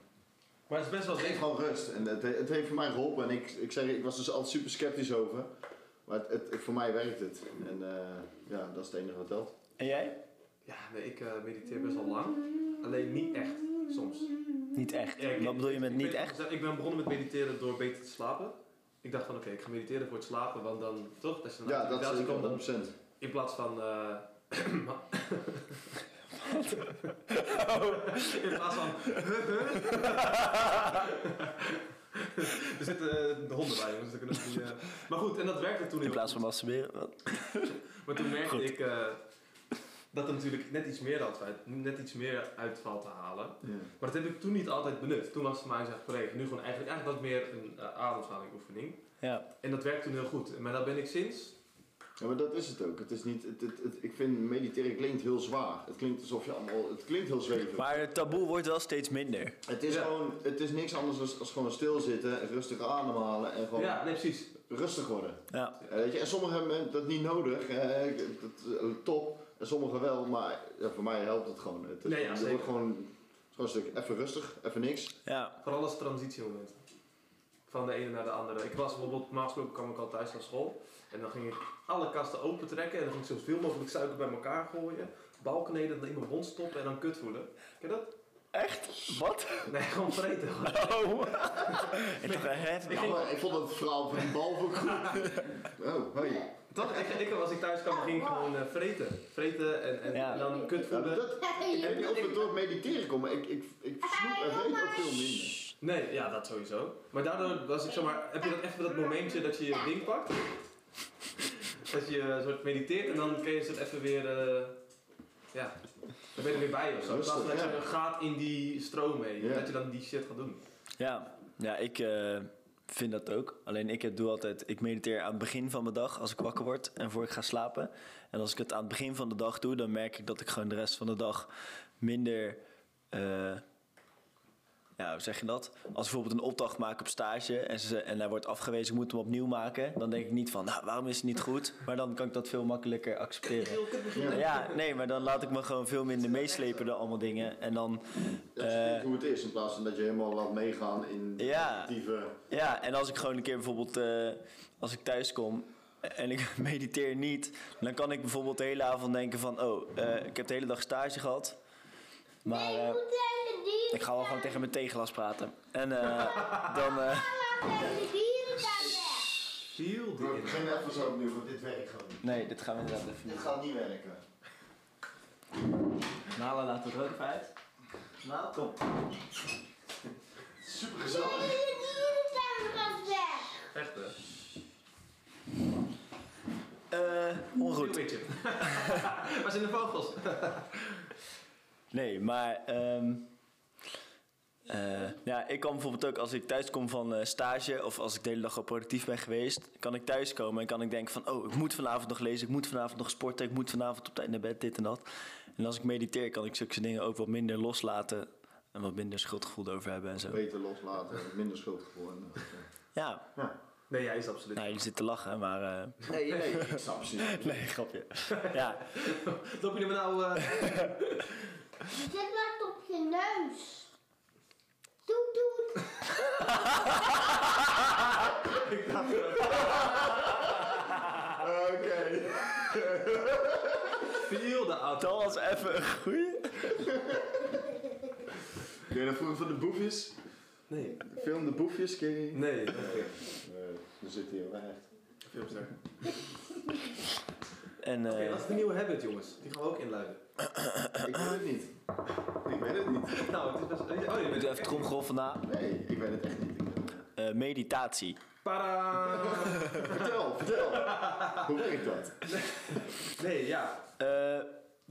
Speaker 4: Maar het is best wel
Speaker 2: het geeft gewoon rust. En het, het heeft voor mij geholpen. En ik, ik zeg, ik was dus altijd super sceptisch over. Maar het, het, voor mij werkt het. En eh, ja, dat is het enige wat telt.
Speaker 3: En jij?
Speaker 4: Ja, nee, ik eh, mediteer best wel lang. Alleen niet echt, soms.
Speaker 3: Niet echt.
Speaker 4: Ja, ik-
Speaker 3: wat bedoel je met
Speaker 4: ik
Speaker 3: niet
Speaker 4: ben-
Speaker 3: echt?
Speaker 4: Ik ben begonnen met mediteren door beter te slapen. Ik dacht van oké, ik ga mediteren voor het slapen, want dan toch? Als je naar
Speaker 2: Ja,
Speaker 4: de
Speaker 2: dat is
Speaker 4: meditatie komt, dan-
Speaker 2: zeker 100%.
Speaker 4: In plaats van. eh, in plaats van. er zitten eh, de honden bij, jongens. dan kunnen we die, eh, Maar goed, en dat werkte toen
Speaker 3: In
Speaker 4: heel
Speaker 3: plaats van
Speaker 4: goed.
Speaker 3: masturberen? Wat?
Speaker 4: Maar toen merkte
Speaker 3: Goed.
Speaker 4: ik eh, dat er natuurlijk net iets meer uit, net iets meer uit valt te halen.
Speaker 2: Ja.
Speaker 4: Maar dat heb ik toen niet altijd benut. Toen was het voor mij zeg collega. Nu gewoon eigenlijk, eigenlijk was het meer een eh, ademhalingoefening.
Speaker 3: Ja.
Speaker 4: En dat werkte toen heel goed. Maar daar ben ik sinds.
Speaker 2: Ja, maar dat is het ook. Het is niet, het, het, het- ik vind mediteren klinkt heel zwaar. Het klinkt alsof je allemaal, het klinkt heel zweverig.
Speaker 3: Maar het taboe wordt wel steeds minder.
Speaker 2: het is
Speaker 4: Ja.
Speaker 2: gewoon, het is niks anders dan als gewoon stilzitten, rustig ademhalen en gewoon
Speaker 4: Ja, nee, precies.
Speaker 2: rustig worden.
Speaker 3: Ja.
Speaker 2: Eh, weet je, en sommigen hebben dat niet nodig. eh, ik- dat, eh, top. En sommigen wel, maar ja, voor mij helpt het gewoon. Het, is-
Speaker 4: Nee, ja,
Speaker 2: je
Speaker 4: zeker.
Speaker 2: wordt gewoon, gewoon een stuk even rustig, even niks.
Speaker 3: Ja.
Speaker 4: Vooral als transitiemoment. Van de ene naar de andere. Ik was bijvoorbeeld, normaal gesproken kwam ik al thuis van school. En dan ging ik alle kasten open trekken. En dan ging ik zoveel mogelijk suiker bij elkaar gooien. Balkneden in mijn mond stoppen en dan kut voelen. Ken je dat?
Speaker 3: Echt? Wat?
Speaker 4: Nee, gewoon vreten.
Speaker 3: Oh. ik dacht, hè?
Speaker 2: Ja, maar ik vond dat verhaal van die bal ook goed. oh, hoi.
Speaker 4: Toch? Ik, ik, als ik thuis kwam, ging ik gewoon eh, vreten. Vreten en, en,
Speaker 3: Ja.
Speaker 4: en dan kut
Speaker 2: Ja, maar
Speaker 4: voelen.
Speaker 2: dat, ik weet niet of het door het mediteren komt, maar ik, ik, ik snoep en weet ook veel minder.
Speaker 4: Nee, ja, dat sowieso. Maar daardoor was ik zomaar. Heb je dat even dat momentje dat je je ding pakt? dat je eh, soort mediteert en dan kun je het even weer. eh, ja, dan ben je er weer bij of zo. In plaats van dat
Speaker 2: Rustig,
Speaker 4: je gaat in die stroom mee.
Speaker 2: Ja.
Speaker 4: Dat je dan die shit gaat doen.
Speaker 3: Ja, ja ik eh, vind dat ook. Alleen ik heb- doe altijd, ik mediteer aan het begin van mijn dag als ik wakker word en voor ik ga slapen. En als ik het aan het begin van de dag doe, dan merk ik dat ik gewoon de rest van de dag minder. eh, ja, hoe zeg je dat? Als ik bijvoorbeeld een opdracht maak op stage en, ze, en hij wordt afgewezen, ik moet hem opnieuw maken. Dan denk ik niet van, nou, waarom is het niet goed? Maar dan kan ik dat veel makkelijker accepteren. Ja, nee, maar dan laat ik me gewoon veel minder meeslepen door allemaal dingen. En dan
Speaker 2: Dat je vindt hoe het is, in plaats van dat je helemaal laat meegaan in de
Speaker 3: Eh. Ja.
Speaker 2: actieve...
Speaker 3: Ja, en als ik gewoon een keer bijvoorbeeld, eh, als ik thuis kom en ik mediteer niet, dan kan ik bijvoorbeeld de hele avond denken van, oh, eh, ik heb de hele dag stage gehad, maar eh, ik ga wel gewoon tegen mijn theeglas praten. En eh, dan, eh,
Speaker 4: Shield
Speaker 2: We
Speaker 4: in.
Speaker 2: beginnen even zo opnieuw, want dit werkt gewoon niet.
Speaker 3: nee, dit gaan we inderdaad even
Speaker 2: Dit
Speaker 3: niet.
Speaker 2: gaat niet werken.
Speaker 3: Nala, laten we er ook even uit. Nala, kom.
Speaker 2: Super gezellig.
Speaker 4: Echt hè?
Speaker 3: Eh, ongoed.
Speaker 4: Waar zijn de vogels?
Speaker 3: Nee, maar ehm, eh, ja, ik kan bijvoorbeeld ook als ik thuis kom van eh, stage of als ik de hele dag al productief ben geweest, kan ik thuis komen en kan ik denken van oh, ik moet vanavond nog lezen, ik moet vanavond nog sporten, ik moet vanavond op tijd naar bed, dit en dat. En als ik mediteer, kan ik zulke dingen ook wat minder loslaten en wat minder schuldgevoel erover hebben en zo.
Speaker 2: Beter loslaten, minder schuldgevoel. en, eh,
Speaker 3: Ja,
Speaker 4: Nee, jij is absoluut.
Speaker 3: nou, je zit te lachen, maar eh,
Speaker 2: Nee, nee, ik snap ze.
Speaker 3: nee, grapje. Ja,
Speaker 4: Loop je er nou... eh,
Speaker 1: Zet maar het op je neus. Doet, doet.
Speaker 2: Oké.
Speaker 4: Viel de auto.
Speaker 3: dat was even een goeie.
Speaker 2: Ken je dat vroeger van de boefjes?
Speaker 4: Nee.
Speaker 2: De film De Boefjes, ken je die?
Speaker 4: Nee.
Speaker 2: Nee, we zitten hier wel echt.
Speaker 4: Oké,
Speaker 3: En eh,
Speaker 4: dat is de nieuwe habit, jongens. Die gaan we ook inluiden.
Speaker 2: Ik weet het niet. Ik weet het niet.
Speaker 4: Nou, het is best... Oh, je
Speaker 3: ik
Speaker 4: bent
Speaker 3: doe even tromgeroffel na.
Speaker 2: Nee, ik weet het echt niet. Ik ben-
Speaker 3: Eh, meditatie.
Speaker 4: Para!
Speaker 2: Vertel, vertel. Hoe werkt dat?
Speaker 4: Nee, ja.
Speaker 3: Eh,
Speaker 4: Er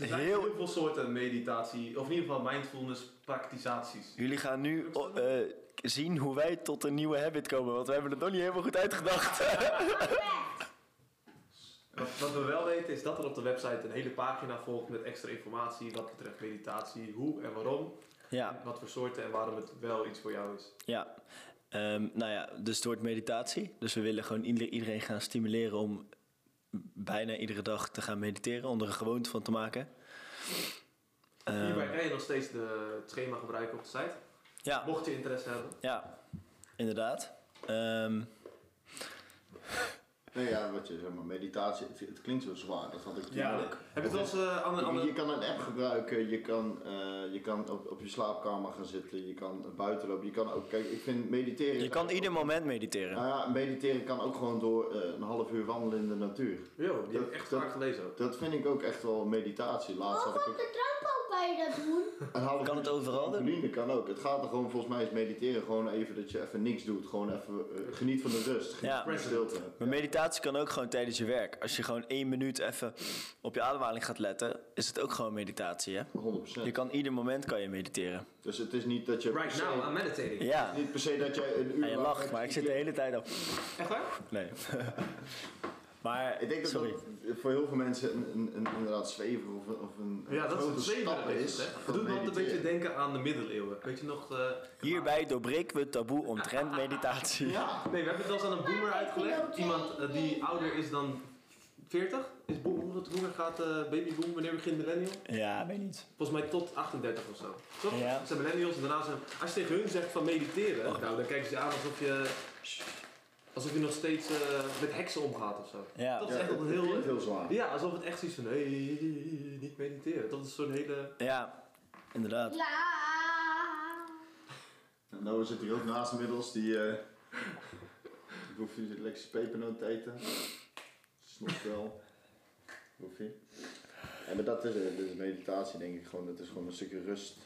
Speaker 4: zijn
Speaker 3: heel
Speaker 4: heel veel soorten meditatie, of in ieder geval mindfulness praktisaties.
Speaker 3: Jullie gaan nu oh, eh, zien hoe wij tot een nieuwe habit komen, want we hebben het nog niet helemaal goed uitgedacht.
Speaker 4: Wat, wat we wel weten is dat er op de website een hele pagina volgt met extra informatie wat betreft meditatie, hoe en waarom,
Speaker 3: ja,
Speaker 4: wat voor soorten en waarom het wel iets voor jou is.
Speaker 3: ja. Ehm, nou ja, dus het wordt meditatie. Dus we willen gewoon ieder- iedereen gaan stimuleren om bijna iedere dag te gaan mediteren, om er een gewoonte van te maken. Ehm,
Speaker 4: Hierbij kan je nog steeds de, het schema gebruiken op de site,
Speaker 3: ja,
Speaker 4: mocht je interesse hebben.
Speaker 3: ja, inderdaad. Ehm,
Speaker 2: Nee, ja, wat je zeg maar, meditatie, het, het klinkt zo zwaar. Dat had ik toen ook.
Speaker 4: Heb je het als eh ander,
Speaker 2: Je, je
Speaker 4: ander...
Speaker 2: kan een app gebruiken, je kan, eh, je kan op, op je slaapkamer gaan zitten, je kan buiten lopen, je kan ook, kijk, ik vind mediteren...
Speaker 3: je kan ieder moment mediteren.
Speaker 2: Nou ja, mediteren kan ook gewoon door eh, een half uur wandelen in de natuur.
Speaker 4: Yo, die heb ik echt
Speaker 2: Dat-
Speaker 4: vaak gelezen ook.
Speaker 2: Dat vind ik ook echt wel meditatie. Laatst had
Speaker 1: Ook
Speaker 2: ik
Speaker 1: op
Speaker 2: ook
Speaker 1: Oh, de trap kan je dat doen.
Speaker 2: een half
Speaker 3: Oh, Kan het overal doen?
Speaker 2: Trampoline kan ook. Het gaat er gewoon, volgens mij is mediteren gewoon even dat je even niks doet. Gewoon even eh, geniet van de rust, geniet
Speaker 3: Ja.
Speaker 2: van de stilte.
Speaker 3: Maar meditatie kan ook gewoon tijdens je werk. Als je gewoon één minuut even op je ademhaling gaat letten, is het ook gewoon meditatie, hè?
Speaker 2: 100%.
Speaker 3: Je kan ieder moment kan je mediteren.
Speaker 2: Dus het is niet dat je... per
Speaker 4: Right
Speaker 2: se-
Speaker 4: now, I'm meditating.
Speaker 3: Ja.
Speaker 2: Niet per se dat je een uur...
Speaker 3: En je
Speaker 2: lang-
Speaker 3: lacht, maar ik zit de hele tijd op.
Speaker 4: Echt waar?
Speaker 3: Nee. maar,
Speaker 2: Ik denk dat
Speaker 3: sorry.
Speaker 2: dat voor heel veel mensen een, een, een inderdaad zweven of, een- of een
Speaker 4: Ja, dat is
Speaker 2: grote
Speaker 4: het
Speaker 2: stap
Speaker 4: tweede.
Speaker 2: is.
Speaker 4: is. hè. Het
Speaker 2: van
Speaker 4: doet me altijd een beetje
Speaker 2: mediteren.
Speaker 4: denken aan de middeleeuwen. Weet je nog... eh,
Speaker 3: Hierbij doorbreken we het taboe omtrent meditatie.
Speaker 2: Ja,
Speaker 4: Nee, we hebben het wel eens aan een boomer uitgelegd. Iemand eh, die ouder is dan 40. Is boom, hoe dat boomer gaat, eh babyboom, wanneer begint millennial?
Speaker 3: Ja, weet niet.
Speaker 4: Volgens mij tot 38 of zo. Toch?
Speaker 3: Ja. Oh.
Speaker 4: Dat zijn millennials en daarna zijn... Als je tegen hun zegt van mediteren, nou, dan kijken ze je aan alsof je... Alsof je nog steeds eh, met heksen omgaat of zo.
Speaker 3: Ja.
Speaker 4: Dat
Speaker 2: ja,
Speaker 4: is echt
Speaker 2: het
Speaker 4: altijd
Speaker 2: klinkt
Speaker 4: heel...
Speaker 2: heel zwaar.
Speaker 4: Ja, alsof het echt zoiets van, hé, niet mediteren. Dat is zo'n hele...
Speaker 3: Ja, inderdaad.
Speaker 1: Ja.
Speaker 2: En Noah zit hier ook naast inmiddels, die eh Boefie zit lekker zijn pepernoot te eten. Snopt wel. Boefie. En maar dat is het, dit is meditatie denk ik gewoon, het is gewoon een stukje rust.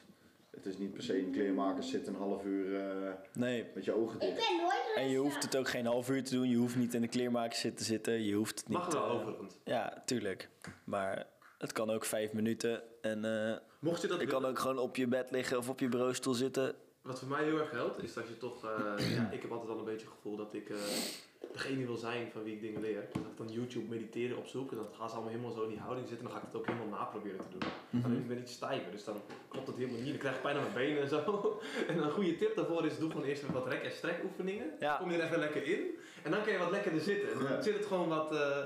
Speaker 2: Het is niet per se een kleermaker zit een half uur eh,
Speaker 3: Nee.
Speaker 2: met je ogen
Speaker 1: Ik
Speaker 2: dicht.
Speaker 1: ben nooit rustig.
Speaker 3: En je hoeft het eh, ook geen half uur te doen. Je hoeft niet in de kleermaker zitten zitten. Je hoeft het niet...
Speaker 4: Mag wel
Speaker 3: eh,
Speaker 4: overigens.
Speaker 3: Ja, tuurlijk. Maar het kan ook vijf minuten. En eh
Speaker 4: Mocht je dat
Speaker 3: je
Speaker 4: willen-
Speaker 3: kan ook gewoon op je bed liggen of op je bureaustoel zitten.
Speaker 4: Wat voor mij heel erg helpt, is dat je toch... eh, ja, ik heb altijd al een beetje het gevoel dat ik eh, degene wil zijn van wie ik dingen leer. Dus dat ik dan YouTube mediteren opzoek en dan gaan ze allemaal helemaal zo in die houding zitten. En dan ga ik het ook helemaal naproberen te doen.
Speaker 3: Mhm.
Speaker 4: Alleen ik ben iets stijver, dus dan klopt het helemaal niet. Dan krijg ik pijn aan mijn benen en zo. en een goede tip daarvoor is, doe gewoon eerst even wat rek- en strek oefeningen.
Speaker 3: Ja.
Speaker 4: Kom je er even lekker in. En dan kan je wat lekkerder zitten. En dan
Speaker 2: Ja.
Speaker 4: zit het gewoon wat... eh,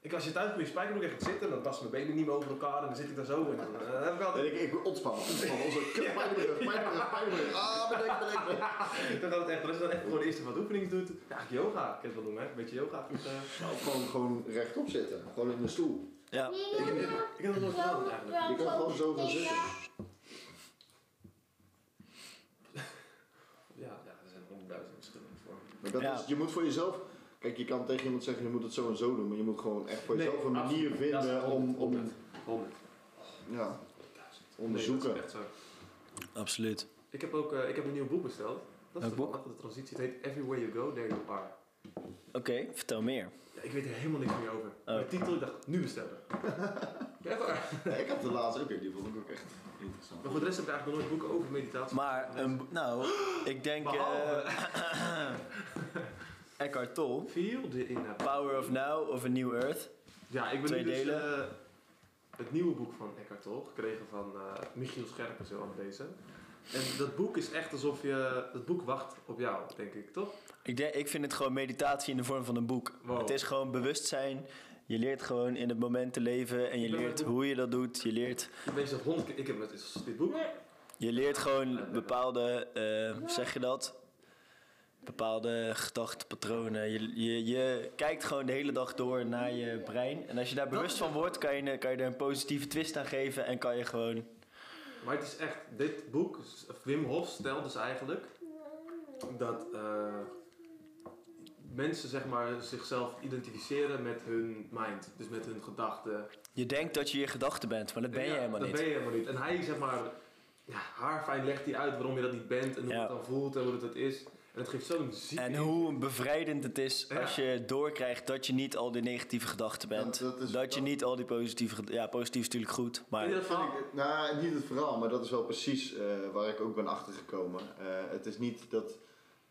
Speaker 4: ik, als je thuis met je spijkerbroek echt gaat zitten, dan passen mijn benen niet meer over elkaar en dan zit ik daar zo in. En dan eh, heb ik altijd
Speaker 2: En ik, ik ontspan, ontspan, onze kut, pijn in mijn rug, pijn in mijn rug, pijn in mijn rug. Ah, bedenk, bedenk, bedenk.
Speaker 4: Ik denk dat het echt best wel echt gewoon eerst even wat oefeningen doet. Ja, yoga. Ik kan het wel doen, hè? Een beetje yoga. Dus, eh,
Speaker 2: Nou, gewoon, gewoon rechtop zitten, gewoon in de stoel.
Speaker 3: Ja.
Speaker 4: ik heb dat nooit gedaan, eigenlijk.
Speaker 2: Je kan gewoon zo gaan zitten.
Speaker 4: Ja, ja, er zijn honderdduizend verschillende vormen.
Speaker 2: Maar dat
Speaker 3: Ja.
Speaker 2: is, je moet voor jezelf. Kijk, je kan tegen iemand zeggen je moet het zo en zo doen, maar je moet gewoon echt voor
Speaker 4: Nee,
Speaker 2: jezelf een manier
Speaker 4: absoluut. Dat
Speaker 2: vinden
Speaker 4: is
Speaker 2: om, om
Speaker 4: honderd. Honderd.
Speaker 2: ja,
Speaker 4: Duizend.
Speaker 2: onderzoeken.
Speaker 4: Nee, dat is echt zo.
Speaker 3: Absoluut.
Speaker 4: Ik heb ook eh, ik heb een nieuw boek besteld. Dat is
Speaker 3: Welk
Speaker 4: de boek?
Speaker 3: boek?
Speaker 4: de transitie. Het heet Everywhere You Go, There You Are.
Speaker 3: Oké, vertel meer.
Speaker 4: Ja, Ik weet er helemaal niks meer over.
Speaker 3: Oh.
Speaker 4: Maar De titel, ik dacht, nu bestellen. ja, waar.
Speaker 2: Ja, ik had de laatste ook in, die vond ik ook echt interessant.
Speaker 4: Maar voor de rest heb ik eigenlijk nog nooit boeken over meditatie.
Speaker 3: Maar, een, bo- nou, ik denk...
Speaker 4: Behalve-
Speaker 3: eh, Eckhart Tolle,
Speaker 4: Viel de in. heb.
Speaker 3: Power of Now of A New Earth.
Speaker 4: Ja, ik ben
Speaker 3: Twee
Speaker 4: nu dus
Speaker 3: delen.
Speaker 4: eh, het nieuwe boek van Eckhart Tolle gekregen van eh, Michiel Scherp en zo aan deze. En dat boek is echt alsof je... Dat boek wacht op jou, denk ik, toch?
Speaker 3: Ik, denk, ik vind het gewoon meditatie in de vorm van een boek.
Speaker 4: Wow.
Speaker 3: Het is gewoon bewustzijn. Je leert gewoon in het moment te leven en je
Speaker 4: Ik ben
Speaker 3: leert
Speaker 4: met-
Speaker 3: hoe je dat doet. Je leert,
Speaker 4: Mensen dat honderd keer... Ik heb met dit- dit boek.
Speaker 1: Nee.
Speaker 3: je leert gewoon bepaalde, eh, hoe zeg je dat? Bepaalde gedachtenpatronen. Je, je, je kijkt gewoon de hele dag door naar je brein. En als je daar
Speaker 4: Dat
Speaker 3: bewust
Speaker 4: is
Speaker 3: van wordt, kan je, kan je er een positieve twist aan geven en kan je gewoon.
Speaker 4: Maar het is echt, dit boek, Wim Hof stelt dus eigenlijk dat eh, mensen zeg maar zichzelf identificeren met hun mind, dus met hun gedachten.
Speaker 3: Je denkt dat je je gedachten bent, maar dat ben je
Speaker 4: Ja,
Speaker 3: helemaal
Speaker 4: dat
Speaker 3: niet.
Speaker 4: ben je helemaal niet. En hij zeg maar, ja, haarfijn legt hij uit waarom je dat niet bent en hoe
Speaker 3: Ja.
Speaker 4: het dan voelt en hoe het dat is. En het geeft zo'n zieke...
Speaker 3: En hoe bevrijdend het is
Speaker 4: Ja.
Speaker 3: als je doorkrijgt dat je niet al die negatieve gedachten bent.
Speaker 2: Ja, dat is-
Speaker 3: je niet al die positieve ged- Ja, positief is natuurlijk goed, maar...
Speaker 4: In ieder
Speaker 2: Vind
Speaker 4: geval,
Speaker 2: ik- nou, niet het verhaal, maar dat is wel precies eh, waar ik ook ben achtergekomen. Eh, het is niet dat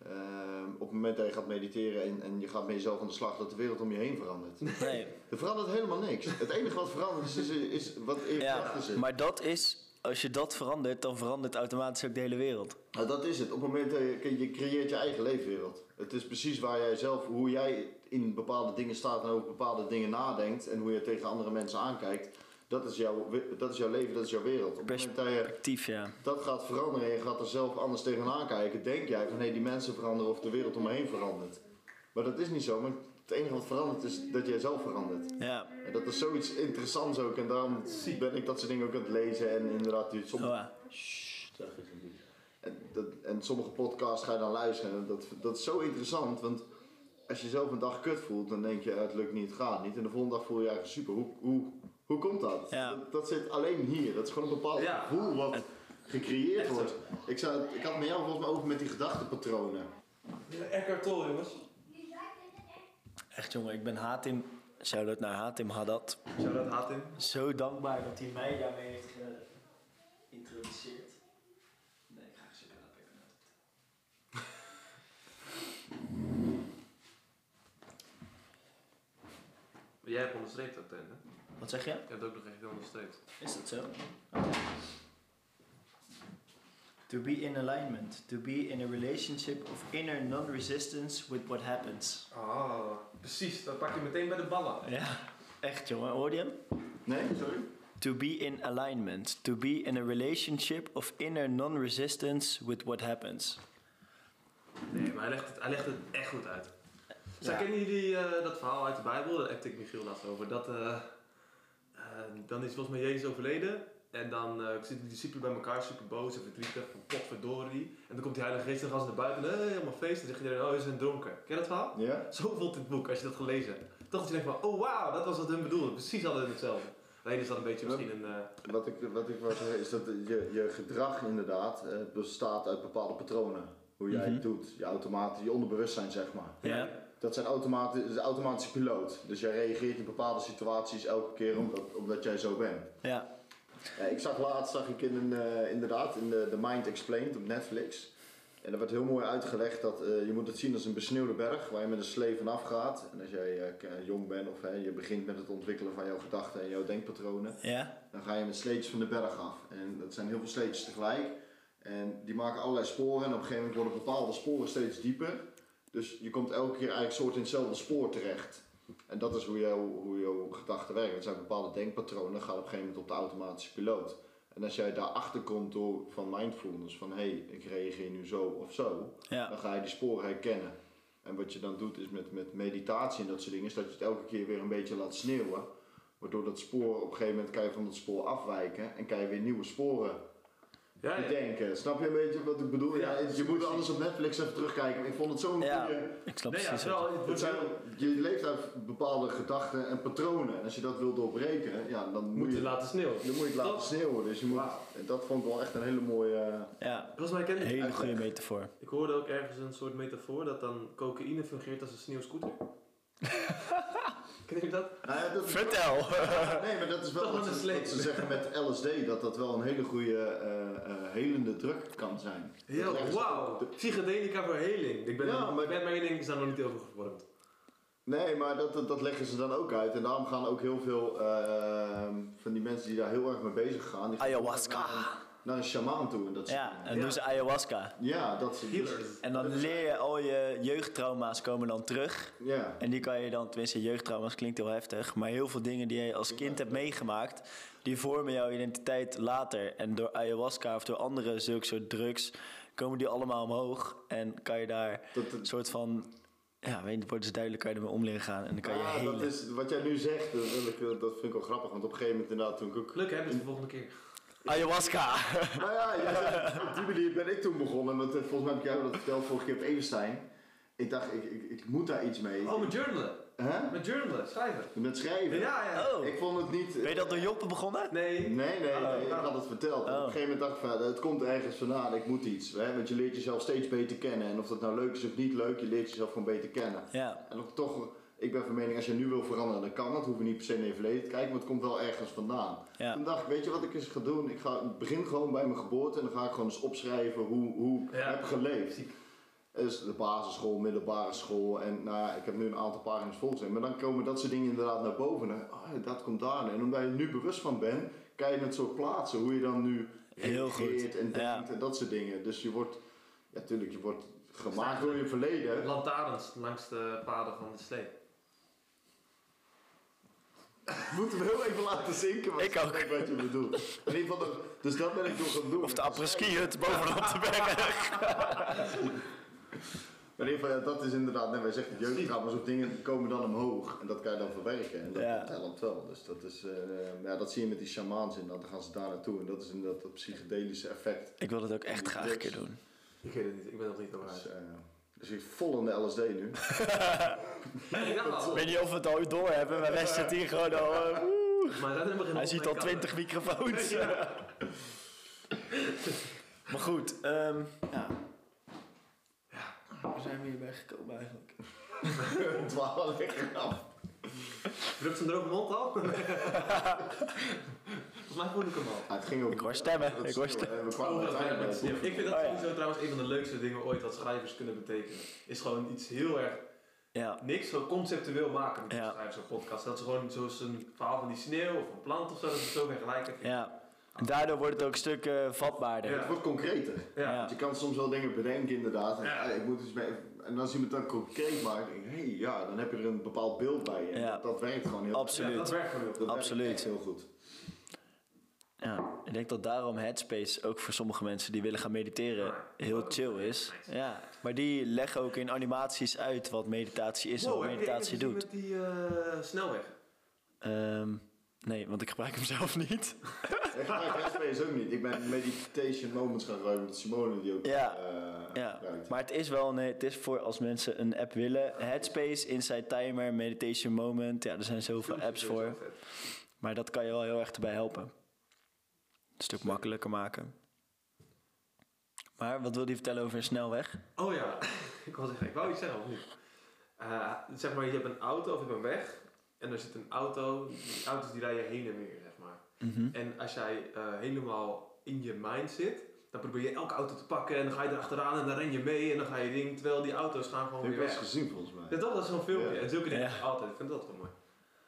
Speaker 2: ehm, op het moment dat je gaat mediteren en, en je gaat met jezelf aan de slag, dat de wereld om je heen verandert.
Speaker 3: Nee,
Speaker 2: Er verandert helemaal niks. Het enige wat verandert is, is, is wat in je
Speaker 3: ja,
Speaker 2: gedachten zit.
Speaker 3: maar dat is... Als je dat verandert, dan verandert automatisch ook de hele wereld.
Speaker 2: Nou, dat is het. Op het moment dat je, je creëert je eigen leefwereld. Het is precies waar jij zelf, hoe jij in bepaalde dingen staat en over bepaalde dingen nadenkt en hoe je tegen andere mensen aankijkt. Dat is, jouw, we- dat is jouw leven, dat is jouw wereld. Op het moment dat je
Speaker 3: Actief, ja.
Speaker 2: dat gaat veranderen en je gaat er zelf anders tegenaan kijken, denk jij van hé, die mensen veranderen of de wereld om me heen verandert. Maar dat is niet zo, maar het enige wat verandert is dat jij zelf verandert.
Speaker 3: Ja,
Speaker 2: En dat is zoiets interessants ook en daarom ben ik dat soort dingen ook aan het lezen en inderdaad, die-
Speaker 3: oh,
Speaker 2: sommige
Speaker 3: ja.
Speaker 2: en, dat, en sommige podcasts ga je dan luisteren. En dat, dat is zo interessant, want als je zelf een dag kut voelt, dan denk je eh, het lukt niet, het gaat niet. En de volgende dag voel je je eigenlijk super. Hoe, hoe, hoe komt dat?
Speaker 3: Ja.
Speaker 2: dat? dat zit alleen hier. Dat is gewoon een bepaald
Speaker 4: Ja.
Speaker 2: gevoel wat gecreëerd
Speaker 4: Echt zo.
Speaker 2: wordt. Ik, zou, het- ik had met jou volgens mij over met die gedachtenpatronen.
Speaker 4: Eckhart Tolle jongens.
Speaker 3: Echt jongen, ik ben Hatim... Shout-out naar Hatim Haddad.
Speaker 4: Zou dat haat in?
Speaker 3: Zo dankbaar dat hij mij daarmee heeft geïntroduceerd. Nee, ik ga geen chocolade
Speaker 4: Maar jij hebt onderstreept dat, hè? Je
Speaker 3: Wat zeg je?
Speaker 4: hebt ook nog echt onderstreept.
Speaker 3: Is dat zo? To be in alignment, to be in a relationship of inner non-resistance with what happens.
Speaker 4: Ah, precies. Dat pak je meteen bij de ballen.
Speaker 3: Ja, echt jongen, hoor je hem?
Speaker 2: Nee, sorry?
Speaker 3: To be in alignment, to be in a relationship of inner non-resistance with what happens.
Speaker 4: Nee, maar hij legt het, hij legt het echt goed uit. Zij
Speaker 3: Ja.
Speaker 4: kennen jullie eh, dat verhaal uit de Bijbel? Daar heb ik Michiel laatst over. Dat, eh, eh, dan is volgens mij Jezus overleden. En dan eh, zitten de discipelen bij elkaar, super boos en verdrietig, van potverdorie. En dan komt die Heilige Geest en dan gaan ze naar buiten, hey, helemaal feest. En dan zegt iedereen, oh, ze zijn dronken. Ken je dat verhaal?
Speaker 2: Ja?
Speaker 4: Zo voelt dit boek als je dat gelezen hebt. Toch dat je denkt van, oh wauw, dat was wat hun bedoelde. Precies hadden hun hetzelfde. Alleen is dat een beetje misschien een... eh,
Speaker 2: Wat ik, wat ik wil zeggen is dat je, je gedrag inderdaad eh, bestaat uit bepaalde patronen. Hoe jij
Speaker 3: Mhm.
Speaker 2: het doet, je automatisch, je onderbewustzijn zeg maar.
Speaker 3: Ja.
Speaker 2: Dat zijn automati- de automatische piloot. Dus jij reageert in bepaalde situaties elke keer omdat, omdat jij zo bent.
Speaker 3: Ja,
Speaker 2: Ja, ik zag laatst zag ik in een, eh, inderdaad in de The Mind Explained op Netflix. En daar werd heel mooi uitgelegd dat eh, je moet het zien als een besneeuwde berg waar je met een slee vanaf gaat. En als jij eh, k- jong bent of hè, je begint met het ontwikkelen van jouw gedachten en jouw denkpatronen,
Speaker 3: ja,
Speaker 2: dan ga je met sleetjes van de berg af. En dat zijn heel veel sleetjes tegelijk. En die maken allerlei sporen. En op een gegeven moment worden bepaalde sporen steeds dieper. Dus je komt elke keer eigenlijk soort in hetzelfde spoor terecht. En dat is hoe jouw, hoe jouw gedachten werken. Het zijn bepaalde denkpatronen. Gaan op een gegeven moment op de automatische piloot. En als jij daarachter komt door van mindfulness. Van hé, hey, ik reageer nu zo of zo.
Speaker 3: ja.
Speaker 2: Dan ga je die sporen herkennen. En wat je dan doet is met, met meditatie en dat soort dingen, is dat je het elke keer weer een beetje laat sneeuwen. Waardoor dat spoor, op een gegeven moment kan je van dat spoor afwijken en kan je weer nieuwe sporen
Speaker 4: ja, ja.
Speaker 2: bedenken. Snap je een beetje wat ik bedoel? Ja,
Speaker 4: Ja,
Speaker 2: je moet alles op Netflix even terugkijken. maar Ik vond het zo'n
Speaker 3: Ja.
Speaker 2: goede...
Speaker 3: Ik snap
Speaker 4: Nee, ja, het
Speaker 3: precies
Speaker 4: is
Speaker 3: wat
Speaker 4: wel- het
Speaker 2: Het
Speaker 4: wordt
Speaker 2: zijn,
Speaker 4: heel-
Speaker 2: je leeft uit bepaalde gedachten en patronen. En als je dat wil doorbreken, ja, dan moet,
Speaker 4: moet je
Speaker 2: je,
Speaker 4: laten sneeuwen.
Speaker 2: dan moet je het laten
Speaker 4: Toch?
Speaker 2: sneeuwen. Dus je moet,
Speaker 4: Wauw.
Speaker 2: dat vond ik wel echt een hele mooie... eh,
Speaker 3: Ja,
Speaker 4: Volgens mij ken
Speaker 3: een
Speaker 4: ik
Speaker 3: hele goede metafoor.
Speaker 4: Ik hoorde ook ergens een soort metafoor dat dan cocaïne fungeert als een sneeuwscooter. Ken je dat?
Speaker 2: Nou ja, dat is-
Speaker 3: Vertel!
Speaker 2: Nee, maar dat is wel
Speaker 4: Dat
Speaker 2: wat
Speaker 4: was een
Speaker 2: ze, wat ze
Speaker 4: sleep.
Speaker 2: zeggen met LSD, dat dat wel een hele goede eh, eh, helende druk kan zijn. Dat
Speaker 4: Heel,
Speaker 2: leggen ze-
Speaker 4: wauw. Psychedelica voor heling. Ik ben,
Speaker 2: Ja, maar-
Speaker 4: mijn mening is daar nog niet heel veel gevormd.
Speaker 2: Nee, maar dat, dat, dat leggen ze dan ook uit. En daarom gaan ook heel veel ehm, van die mensen die daar heel erg mee bezig gaan... Die gaan
Speaker 3: Ayahuasca.
Speaker 2: Naar een, naar een shamaan toe en dat soort
Speaker 3: Ja,
Speaker 2: dingen.
Speaker 3: en doen ze ayahuasca.
Speaker 2: Ja, dat soort
Speaker 4: Healers.
Speaker 3: En dan leer je al je jeugdtrauma's komen dan terug.
Speaker 2: Ja.
Speaker 3: En die kan je dan, tenminste jeugdtrauma's klinkt heel heftig, maar heel veel dingen die je als kind hebt meegemaakt, die vormen jouw identiteit later. En door ayahuasca of door andere zulke soort drugs komen die allemaal omhoog. En kan je daar
Speaker 2: Dat-
Speaker 3: een soort van, ja, weet je, het wordt dus duidelijk, kan je ermee om leren gaan. En dan kan je
Speaker 2: Ah, dat
Speaker 3: helen.
Speaker 2: is wat jij nu zegt, dat, wil ik, dat vind ik wel grappig. Want op een gegeven moment inderdaad toen ik ook...
Speaker 4: Gelukkig hebben we het de volgende keer.
Speaker 3: Ayahuasca!
Speaker 2: Nou ja, jij zegt, op die manier ben ik toen begonnen. Want eh, volgens mij heb ik jou dat verteld vorige keer op Evenstein. Ik dacht, ik, ik, ik moet daar iets mee.
Speaker 4: Oh, met journalen.
Speaker 2: Hè?
Speaker 4: Met journalen, schrijven.
Speaker 2: Met schrijven.
Speaker 4: Ja, ja.
Speaker 3: Oh,
Speaker 2: Ik vond het niet...
Speaker 3: ben je dat door Joppe begonnen?
Speaker 4: Nee.
Speaker 2: Nee, nee,
Speaker 4: Oh.
Speaker 2: nee, ik had het verteld.
Speaker 3: Oh.
Speaker 2: Op een gegeven moment dacht ik van, het komt ergens vandaan, ik moet iets. Hè? Want je leert jezelf steeds beter kennen. En of dat nou leuk is of niet leuk, je leert jezelf gewoon beter kennen.
Speaker 3: Ja,
Speaker 2: En ook toch, ik ben van mening, als je nu wil veranderen, dan kan dat. Hoef je niet per se naar je verleden te kijken, maar het komt wel ergens vandaan.
Speaker 3: ja.
Speaker 2: Toen dacht ik, weet je wat ik eens ga doen? Ik ga, ik begin gewoon bij mijn geboorte en dan ga ik gewoon eens opschrijven hoe, hoe ik
Speaker 4: Ja.
Speaker 2: heb geleefd.
Speaker 4: Ziek.
Speaker 2: Dus de basisschool, middelbare school en nou ja, ik heb nu een aantal pagina's volgens. Maar dan komen dat soort dingen inderdaad naar boven. En, oh, ja, dat komt daar. En omdat je er nu bewust van bent, kan je het zo plaatsen. Hoe je dan nu
Speaker 3: Heel goed.
Speaker 2: reageert en denkt
Speaker 3: Ja.
Speaker 2: en dat soort dingen. Dus je wordt, ja tuurlijk, je wordt gemaakt door je verleden.
Speaker 4: Lantaarns langs de paden van de slee.
Speaker 2: Moeten we heel even laten zinken. want
Speaker 3: Ik
Speaker 2: snap
Speaker 3: ook.
Speaker 2: Wat je bedoelt. In ieder geval, dat- dus dat ben ik nog gaan doen.
Speaker 3: Of de apres-ski hut bovenop de berg.
Speaker 2: Maar in ieder geval, ja, dat is inderdaad, nee, wij zeggen het jeugdtrauma's op dingen komen dan omhoog en dat kan je dan verwerken en dat,
Speaker 3: Ja.
Speaker 2: dat helpt wel. Dus dat is, eh, ja, dat zie je met die shamaans in, dan gaan ze daar naartoe en dat is inderdaad dat psychedelische effect.
Speaker 3: Ik wil dat ook echt graag een keer doen.
Speaker 4: Ik weet het niet, ik ben nog niet over
Speaker 2: Dus, eh, dus ik vol in de LSD nu.
Speaker 4: Ik dacht al.
Speaker 3: Ik weet niet of we het al ooit door hebben, maar wij zitten hier gewoon al. eh, woe.
Speaker 4: Maar dat hebben we
Speaker 3: hij ziet al twintig microfoons. maar goed, ehm ja. Hoe zijn we hierbij gekomen eigenlijk?
Speaker 2: Ontwalen lekker af.
Speaker 4: Drukt zijn droge mond al? Volgens mij voel ik hem al.
Speaker 2: Ah, het ging ook,
Speaker 3: Ik hoor stemmen,
Speaker 2: dat
Speaker 3: ik hoor
Speaker 2: stil,
Speaker 3: stemmen.
Speaker 2: hè, We
Speaker 4: Oh,
Speaker 2: kwamen uiteindelijk bij het
Speaker 4: Ik vind dat
Speaker 3: Oh ja.
Speaker 4: sowieso trouwens een van de leukste dingen ooit wat schrijvers kunnen betekenen. Is gewoon iets heel erg
Speaker 3: Ja,
Speaker 4: niks, zo conceptueel maken met
Speaker 3: Ja.
Speaker 4: schrijvers zo'n podcast. Dat ze gewoon zoals een verhaal van die sneeuw of een plant of zo, dat ze het zo weer gelijk hebben.
Speaker 3: ja. En daardoor wordt het ook een stuk eh, vatbaarder.
Speaker 4: Ja.
Speaker 2: Het wordt concreter.
Speaker 3: Ja.
Speaker 2: Want je kan soms wel dingen bedenken inderdaad. En,
Speaker 4: Ja.
Speaker 2: ah, ik moet iets mee, en als iemand dat concreet maakt, denk ik, hey, ja, dan heb je er een bepaald beeld bij. En
Speaker 3: Ja.
Speaker 2: dat, dat werkt gewoon heel
Speaker 4: Ja, dat
Speaker 3: Absoluut.
Speaker 4: werkt gewoon heel
Speaker 2: dat werkt
Speaker 3: Absoluut.
Speaker 2: echt heel goed.
Speaker 3: Ja. Ik denk dat daarom Headspace ook voor sommige mensen die willen gaan mediteren heel chill is. Ja. Maar die leggen ook in animaties uit wat meditatie is en
Speaker 4: Wow,
Speaker 3: wat
Speaker 4: heb je
Speaker 3: meditatie
Speaker 4: die
Speaker 3: doet.
Speaker 4: met die eh, snelweg?
Speaker 3: Ehm, nee, want ik gebruik hem zelf niet.
Speaker 2: Ik gebruik Headspace ook niet. Ik ben meditation moments gaan gebruiken met Simone die ook
Speaker 3: Ja.
Speaker 2: eh,
Speaker 3: Ja.
Speaker 2: gebruikt.
Speaker 3: Maar het is wel een, het is voor als mensen een app willen. Headspace, Inside Timer, Meditation Moment. Ja, er zijn zoveel apps voor. Maar dat kan je wel heel erg erbij helpen. Een stuk makkelijker maken. Maar wat wil je vertellen over een snelweg?
Speaker 4: Oh ja, ik wou zeggen, ik wou iets zeggen of niet. Eh, zeg maar, je hebt een auto of je hebt een weg. En er zit een auto, die auto's die rijden heen en weer, zeg maar.
Speaker 3: Mhm.
Speaker 4: En als jij eh, helemaal in je mind zit, dan probeer je elke auto te pakken en dan ga je erachteraan en dan ren je mee en dan ga je ding, terwijl die auto's gaan gewoon
Speaker 2: Dat heb
Speaker 4: weer
Speaker 2: ik wel eens
Speaker 4: weg.
Speaker 2: gezien volgens mij.
Speaker 4: Ja, toch? Dat is zo'n filmpje.
Speaker 2: Ja.
Speaker 4: En zulke dingen
Speaker 3: Ja.
Speaker 4: altijd. Ik vind dat wel mooi.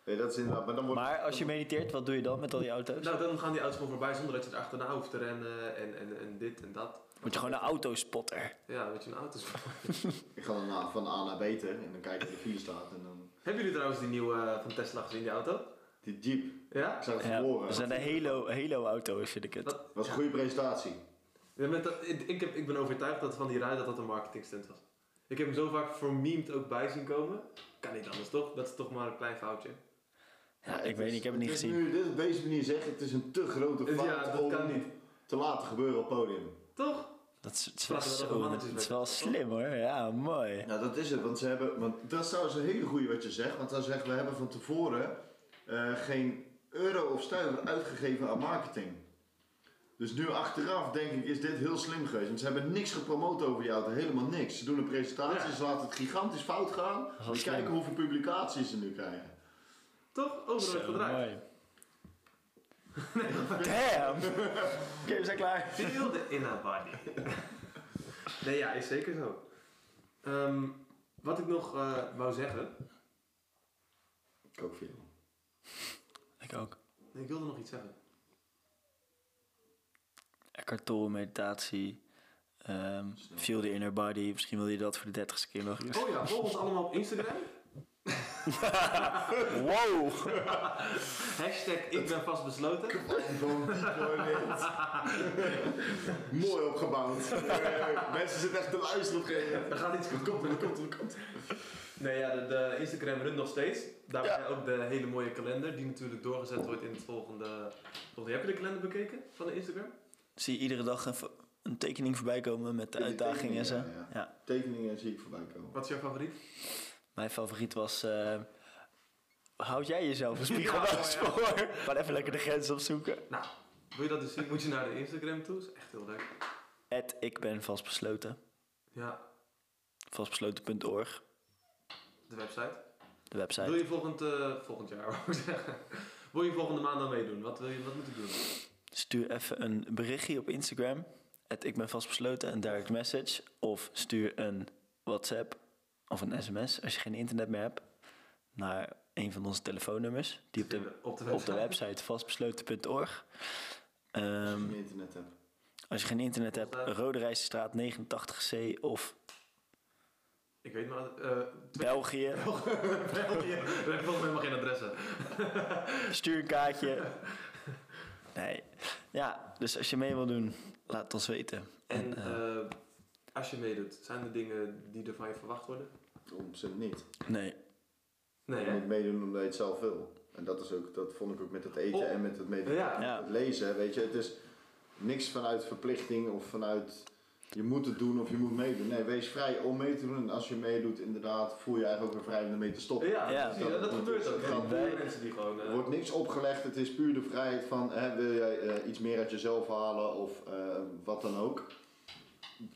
Speaker 2: Nee, dat is inderdaad, maar dan wordt
Speaker 3: Maar als je mediteert, wat doe je dan met al die auto's?
Speaker 4: Nou, dan gaan die auto's gewoon voorbij zonder dat je erachterna hoeft te rennen en, en, en dit en dat.
Speaker 3: Word je gewoon een autospotter.
Speaker 4: Ja, weet je, een auto's.
Speaker 2: ik ga dan na- van A naar B ter en dan kijk ik in de file staat en dan
Speaker 4: Hebben jullie trouwens die nieuwe eh, van Tesla gezien, die auto?
Speaker 2: die jeep.
Speaker 4: Ja?
Speaker 2: Ik zag het
Speaker 3: Ja,
Speaker 2: verloren.
Speaker 3: dat zijn de Halo, Halo auto's, vind ik het.
Speaker 4: Dat
Speaker 2: was een goede presentatie.
Speaker 4: Ja, met dat- ik, ik, heb, ik ben overtuigd dat van die rij dat dat een marketingstunt was. Ik heb hem zo vaak vermeemd ook bij zien komen. Kan niet anders toch? Dat is toch maar een klein foutje.
Speaker 3: Ja, ik weet
Speaker 2: het is-
Speaker 3: niet, ik heb het niet
Speaker 2: is
Speaker 3: gezien.
Speaker 2: Nu, dit, op deze manier zeggen, het is een te grote fout
Speaker 4: ja, dat
Speaker 2: om
Speaker 4: kan niet.
Speaker 2: te laten gebeuren op het podium.
Speaker 4: Toch?
Speaker 3: Dat is, het is wel,
Speaker 4: Laten we dat
Speaker 3: zo-
Speaker 4: over mannetjes
Speaker 3: het is wel
Speaker 4: weten.
Speaker 3: slim hoor. Ja, mooi.
Speaker 2: Nou, dat is het. Want, ze hebben, want dat is trouwens een hele goede wat je zegt. Want dan zegt, we hebben van tevoren eh, geen euro of stuiver uitgegeven aan marketing. Dus nu achteraf denk ik, is dit heel slim geweest. Want ze hebben niks gepromoot over die auto, helemaal niks. Ze doen een presentatie,
Speaker 4: Ja.
Speaker 2: ze laten het gigantisch fout gaan.
Speaker 3: is wel
Speaker 2: We
Speaker 3: slim.
Speaker 2: kijken hoeveel publicaties ze nu krijgen.
Speaker 4: Toch? Overal
Speaker 3: Zo,
Speaker 4: gedraaid.
Speaker 3: mooi. Damn! Oké, we zijn klaar.
Speaker 4: Feel the inner body. nee, ja, is zeker zo. Ehm, wat ik nog eh, wou zeggen.
Speaker 2: Ik ook veel.
Speaker 3: Ik ook.
Speaker 4: Ik wilde nog iets zeggen.
Speaker 3: Eckhart Tolle, meditatie. ehm,
Speaker 2: Snel.
Speaker 3: feel the inner body. Misschien wil je dat voor de dertigste keer nog.
Speaker 4: Oh ja, volg ons allemaal op Instagram.
Speaker 3: Wow!
Speaker 4: Hashtag ik ben vastbesloten.
Speaker 2: Gewoon diep hoor, dit. Mooi opgebouwd. Eh, mensen zitten echt te luisteren op een gegeven moment.
Speaker 4: Er gaat iets
Speaker 2: Wat komt er, wat komt er, wat komt er?
Speaker 4: Nee, ja, de, de Instagram runt nog steeds. Daarbij ook de hele mooie kalender, die natuurlijk doorgezet wordt in het volgende. volgende. Heb je de kalender bekeken van de Instagram?
Speaker 3: Zie je iedere dag een, vo- een tekening voorbij komen met de
Speaker 2: Met die
Speaker 3: uitdagingen en zo.
Speaker 2: tekeningen,
Speaker 3: Ja.
Speaker 2: ja, Tekeningen zie ik voorbij komen.
Speaker 4: Wat is jouw favoriet?
Speaker 3: Mijn favoriet was... eh, houd jij jezelf een spiegel
Speaker 4: Ja,
Speaker 3: bij
Speaker 4: ja.
Speaker 3: het spoor? Maar even lekker de grens opzoeken.
Speaker 4: Nou, wil je dat dus zien? Moet je naar de Instagram toe? Is echt heel leuk.
Speaker 3: Ed, ik ben vastbesloten.
Speaker 4: Ja,
Speaker 3: Vastbesloten.org,
Speaker 4: de website.
Speaker 3: de website.
Speaker 4: Wil je volgend, eh, volgend jaar, wou ik zeggen. Wil je volgende maand dan meedoen? Wat, wil je, wat moet ik doen?
Speaker 3: Stuur even een berichtje op Instagram. Het ik ben vastbesloten, een direct message. Of stuur een WhatsApp of een sms als je geen internet meer hebt. Naar een van onze telefoonnummers. Die op de,
Speaker 4: op de
Speaker 3: op de website vastbesloten.org.
Speaker 2: Als je
Speaker 3: Ehm,
Speaker 2: geen internet hebt.
Speaker 3: als je geen internet hebt, Rode Rijsstraat 89C of
Speaker 4: Ik weet maar. eh
Speaker 3: België.
Speaker 4: België. We hebben volgens mij helemaal geen adressen.
Speaker 3: Stuur een kaartje. Nee. Ja, dus als je mee wil doen, laat het ons weten.
Speaker 4: En
Speaker 3: En,
Speaker 4: eh, als je meedoet, zijn er dingen die er van je verwacht worden?
Speaker 2: 100% niet.
Speaker 3: Nee.
Speaker 2: Je
Speaker 4: Nee, hè?
Speaker 2: moet meedoen omdat je het zelf wil. En dat, is ook, dat vond ik ook met het eten
Speaker 4: Oh.
Speaker 2: en met het meedoen.
Speaker 4: Ja,
Speaker 3: Ja.
Speaker 2: Het lezen, weet je. Het is niks vanuit verplichting of vanuit je moet het doen of je moet meedoen. Nee, wees vrij om mee te doen. En als je meedoet, inderdaad, voel je eigenlijk ook weer vrij om ermee te stoppen.
Speaker 4: Ja,
Speaker 3: Ja.
Speaker 4: precies. En dat gebeurt ook. Er zijn veel mensen die gewoon... eh,
Speaker 2: Er wordt niks opgelegd, het is puur de vrijheid van hè, wil jij eh, iets meer uit jezelf halen of eh, wat dan ook.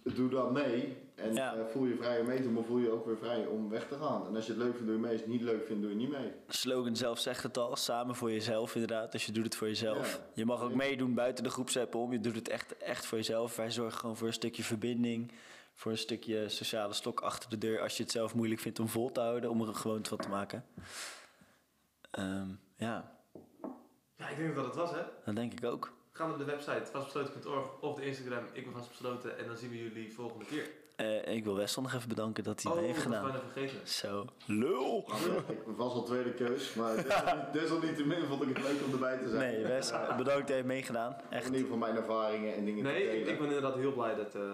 Speaker 2: Doe dat mee en
Speaker 3: Ja.
Speaker 2: eh, voel je vrij om mee te doen, maar voel je ook weer vrij om weg te gaan. En als je het leuk vindt, doe je mee. Als je het niet leuk vindt, doe je niet mee.
Speaker 3: De slogan zelf zegt het al, samen voor jezelf inderdaad. Dus je doet het voor jezelf.
Speaker 2: Ja.
Speaker 3: Je mag ook meedoen buiten de groepsapp om. Je doet het echt, echt voor jezelf. Wij zorgen gewoon voor een stukje verbinding. Voor een stukje sociale stok achter de deur. Als je het zelf moeilijk vindt om vol te houden. Om er een gewoonte van te maken. Ehm, ja,
Speaker 4: Ja, ik denk dat dat het was, hè?
Speaker 3: dat denk ik ook.
Speaker 4: Ga naar de website vastbesloten.org of de Instagram ik ben vastbesloten en dan zien we jullie volgende keer.
Speaker 3: Eh, ik wil Weston nog even bedanken dat hij
Speaker 4: oh,
Speaker 3: mee heeft
Speaker 4: dat was
Speaker 3: gedaan.
Speaker 4: bijna vergeten.
Speaker 3: Zo, lul!
Speaker 2: ik was al tweede keus, maar desal- desalniettemin vond ik het leuk om erbij te zijn.
Speaker 3: Nee, Wes, bedankt dat je hebt meegedaan.
Speaker 2: In
Speaker 3: Echt.
Speaker 2: ieder geval mijn ervaringen en dingen te
Speaker 4: Nee,
Speaker 2: delen.
Speaker 4: ik, ik ben inderdaad heel blij dat, eh,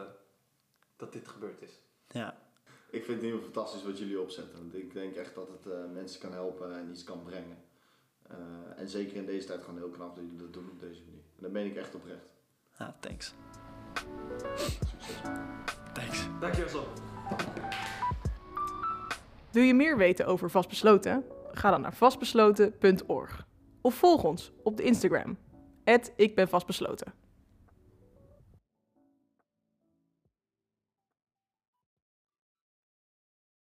Speaker 4: dat dit gebeurd is.
Speaker 3: Ja,
Speaker 2: Ik vind het in ieder geval fantastisch wat jullie opzetten. Want ik denk echt dat het eh, mensen kan helpen en iets kan brengen. Eh, en zeker in deze tijd gewoon heel knap dat jullie dat doen op deze manier. En dat meen ik echt oprecht.
Speaker 3: ah, thanks.
Speaker 2: Succes.
Speaker 3: Thanks.
Speaker 4: Dankjewel, Sam.
Speaker 5: Wil je meer weten over Vastbesloten? Ga dan naar vastbesloten.org of volg ons op de Instagram. Ik ben vastbesloten.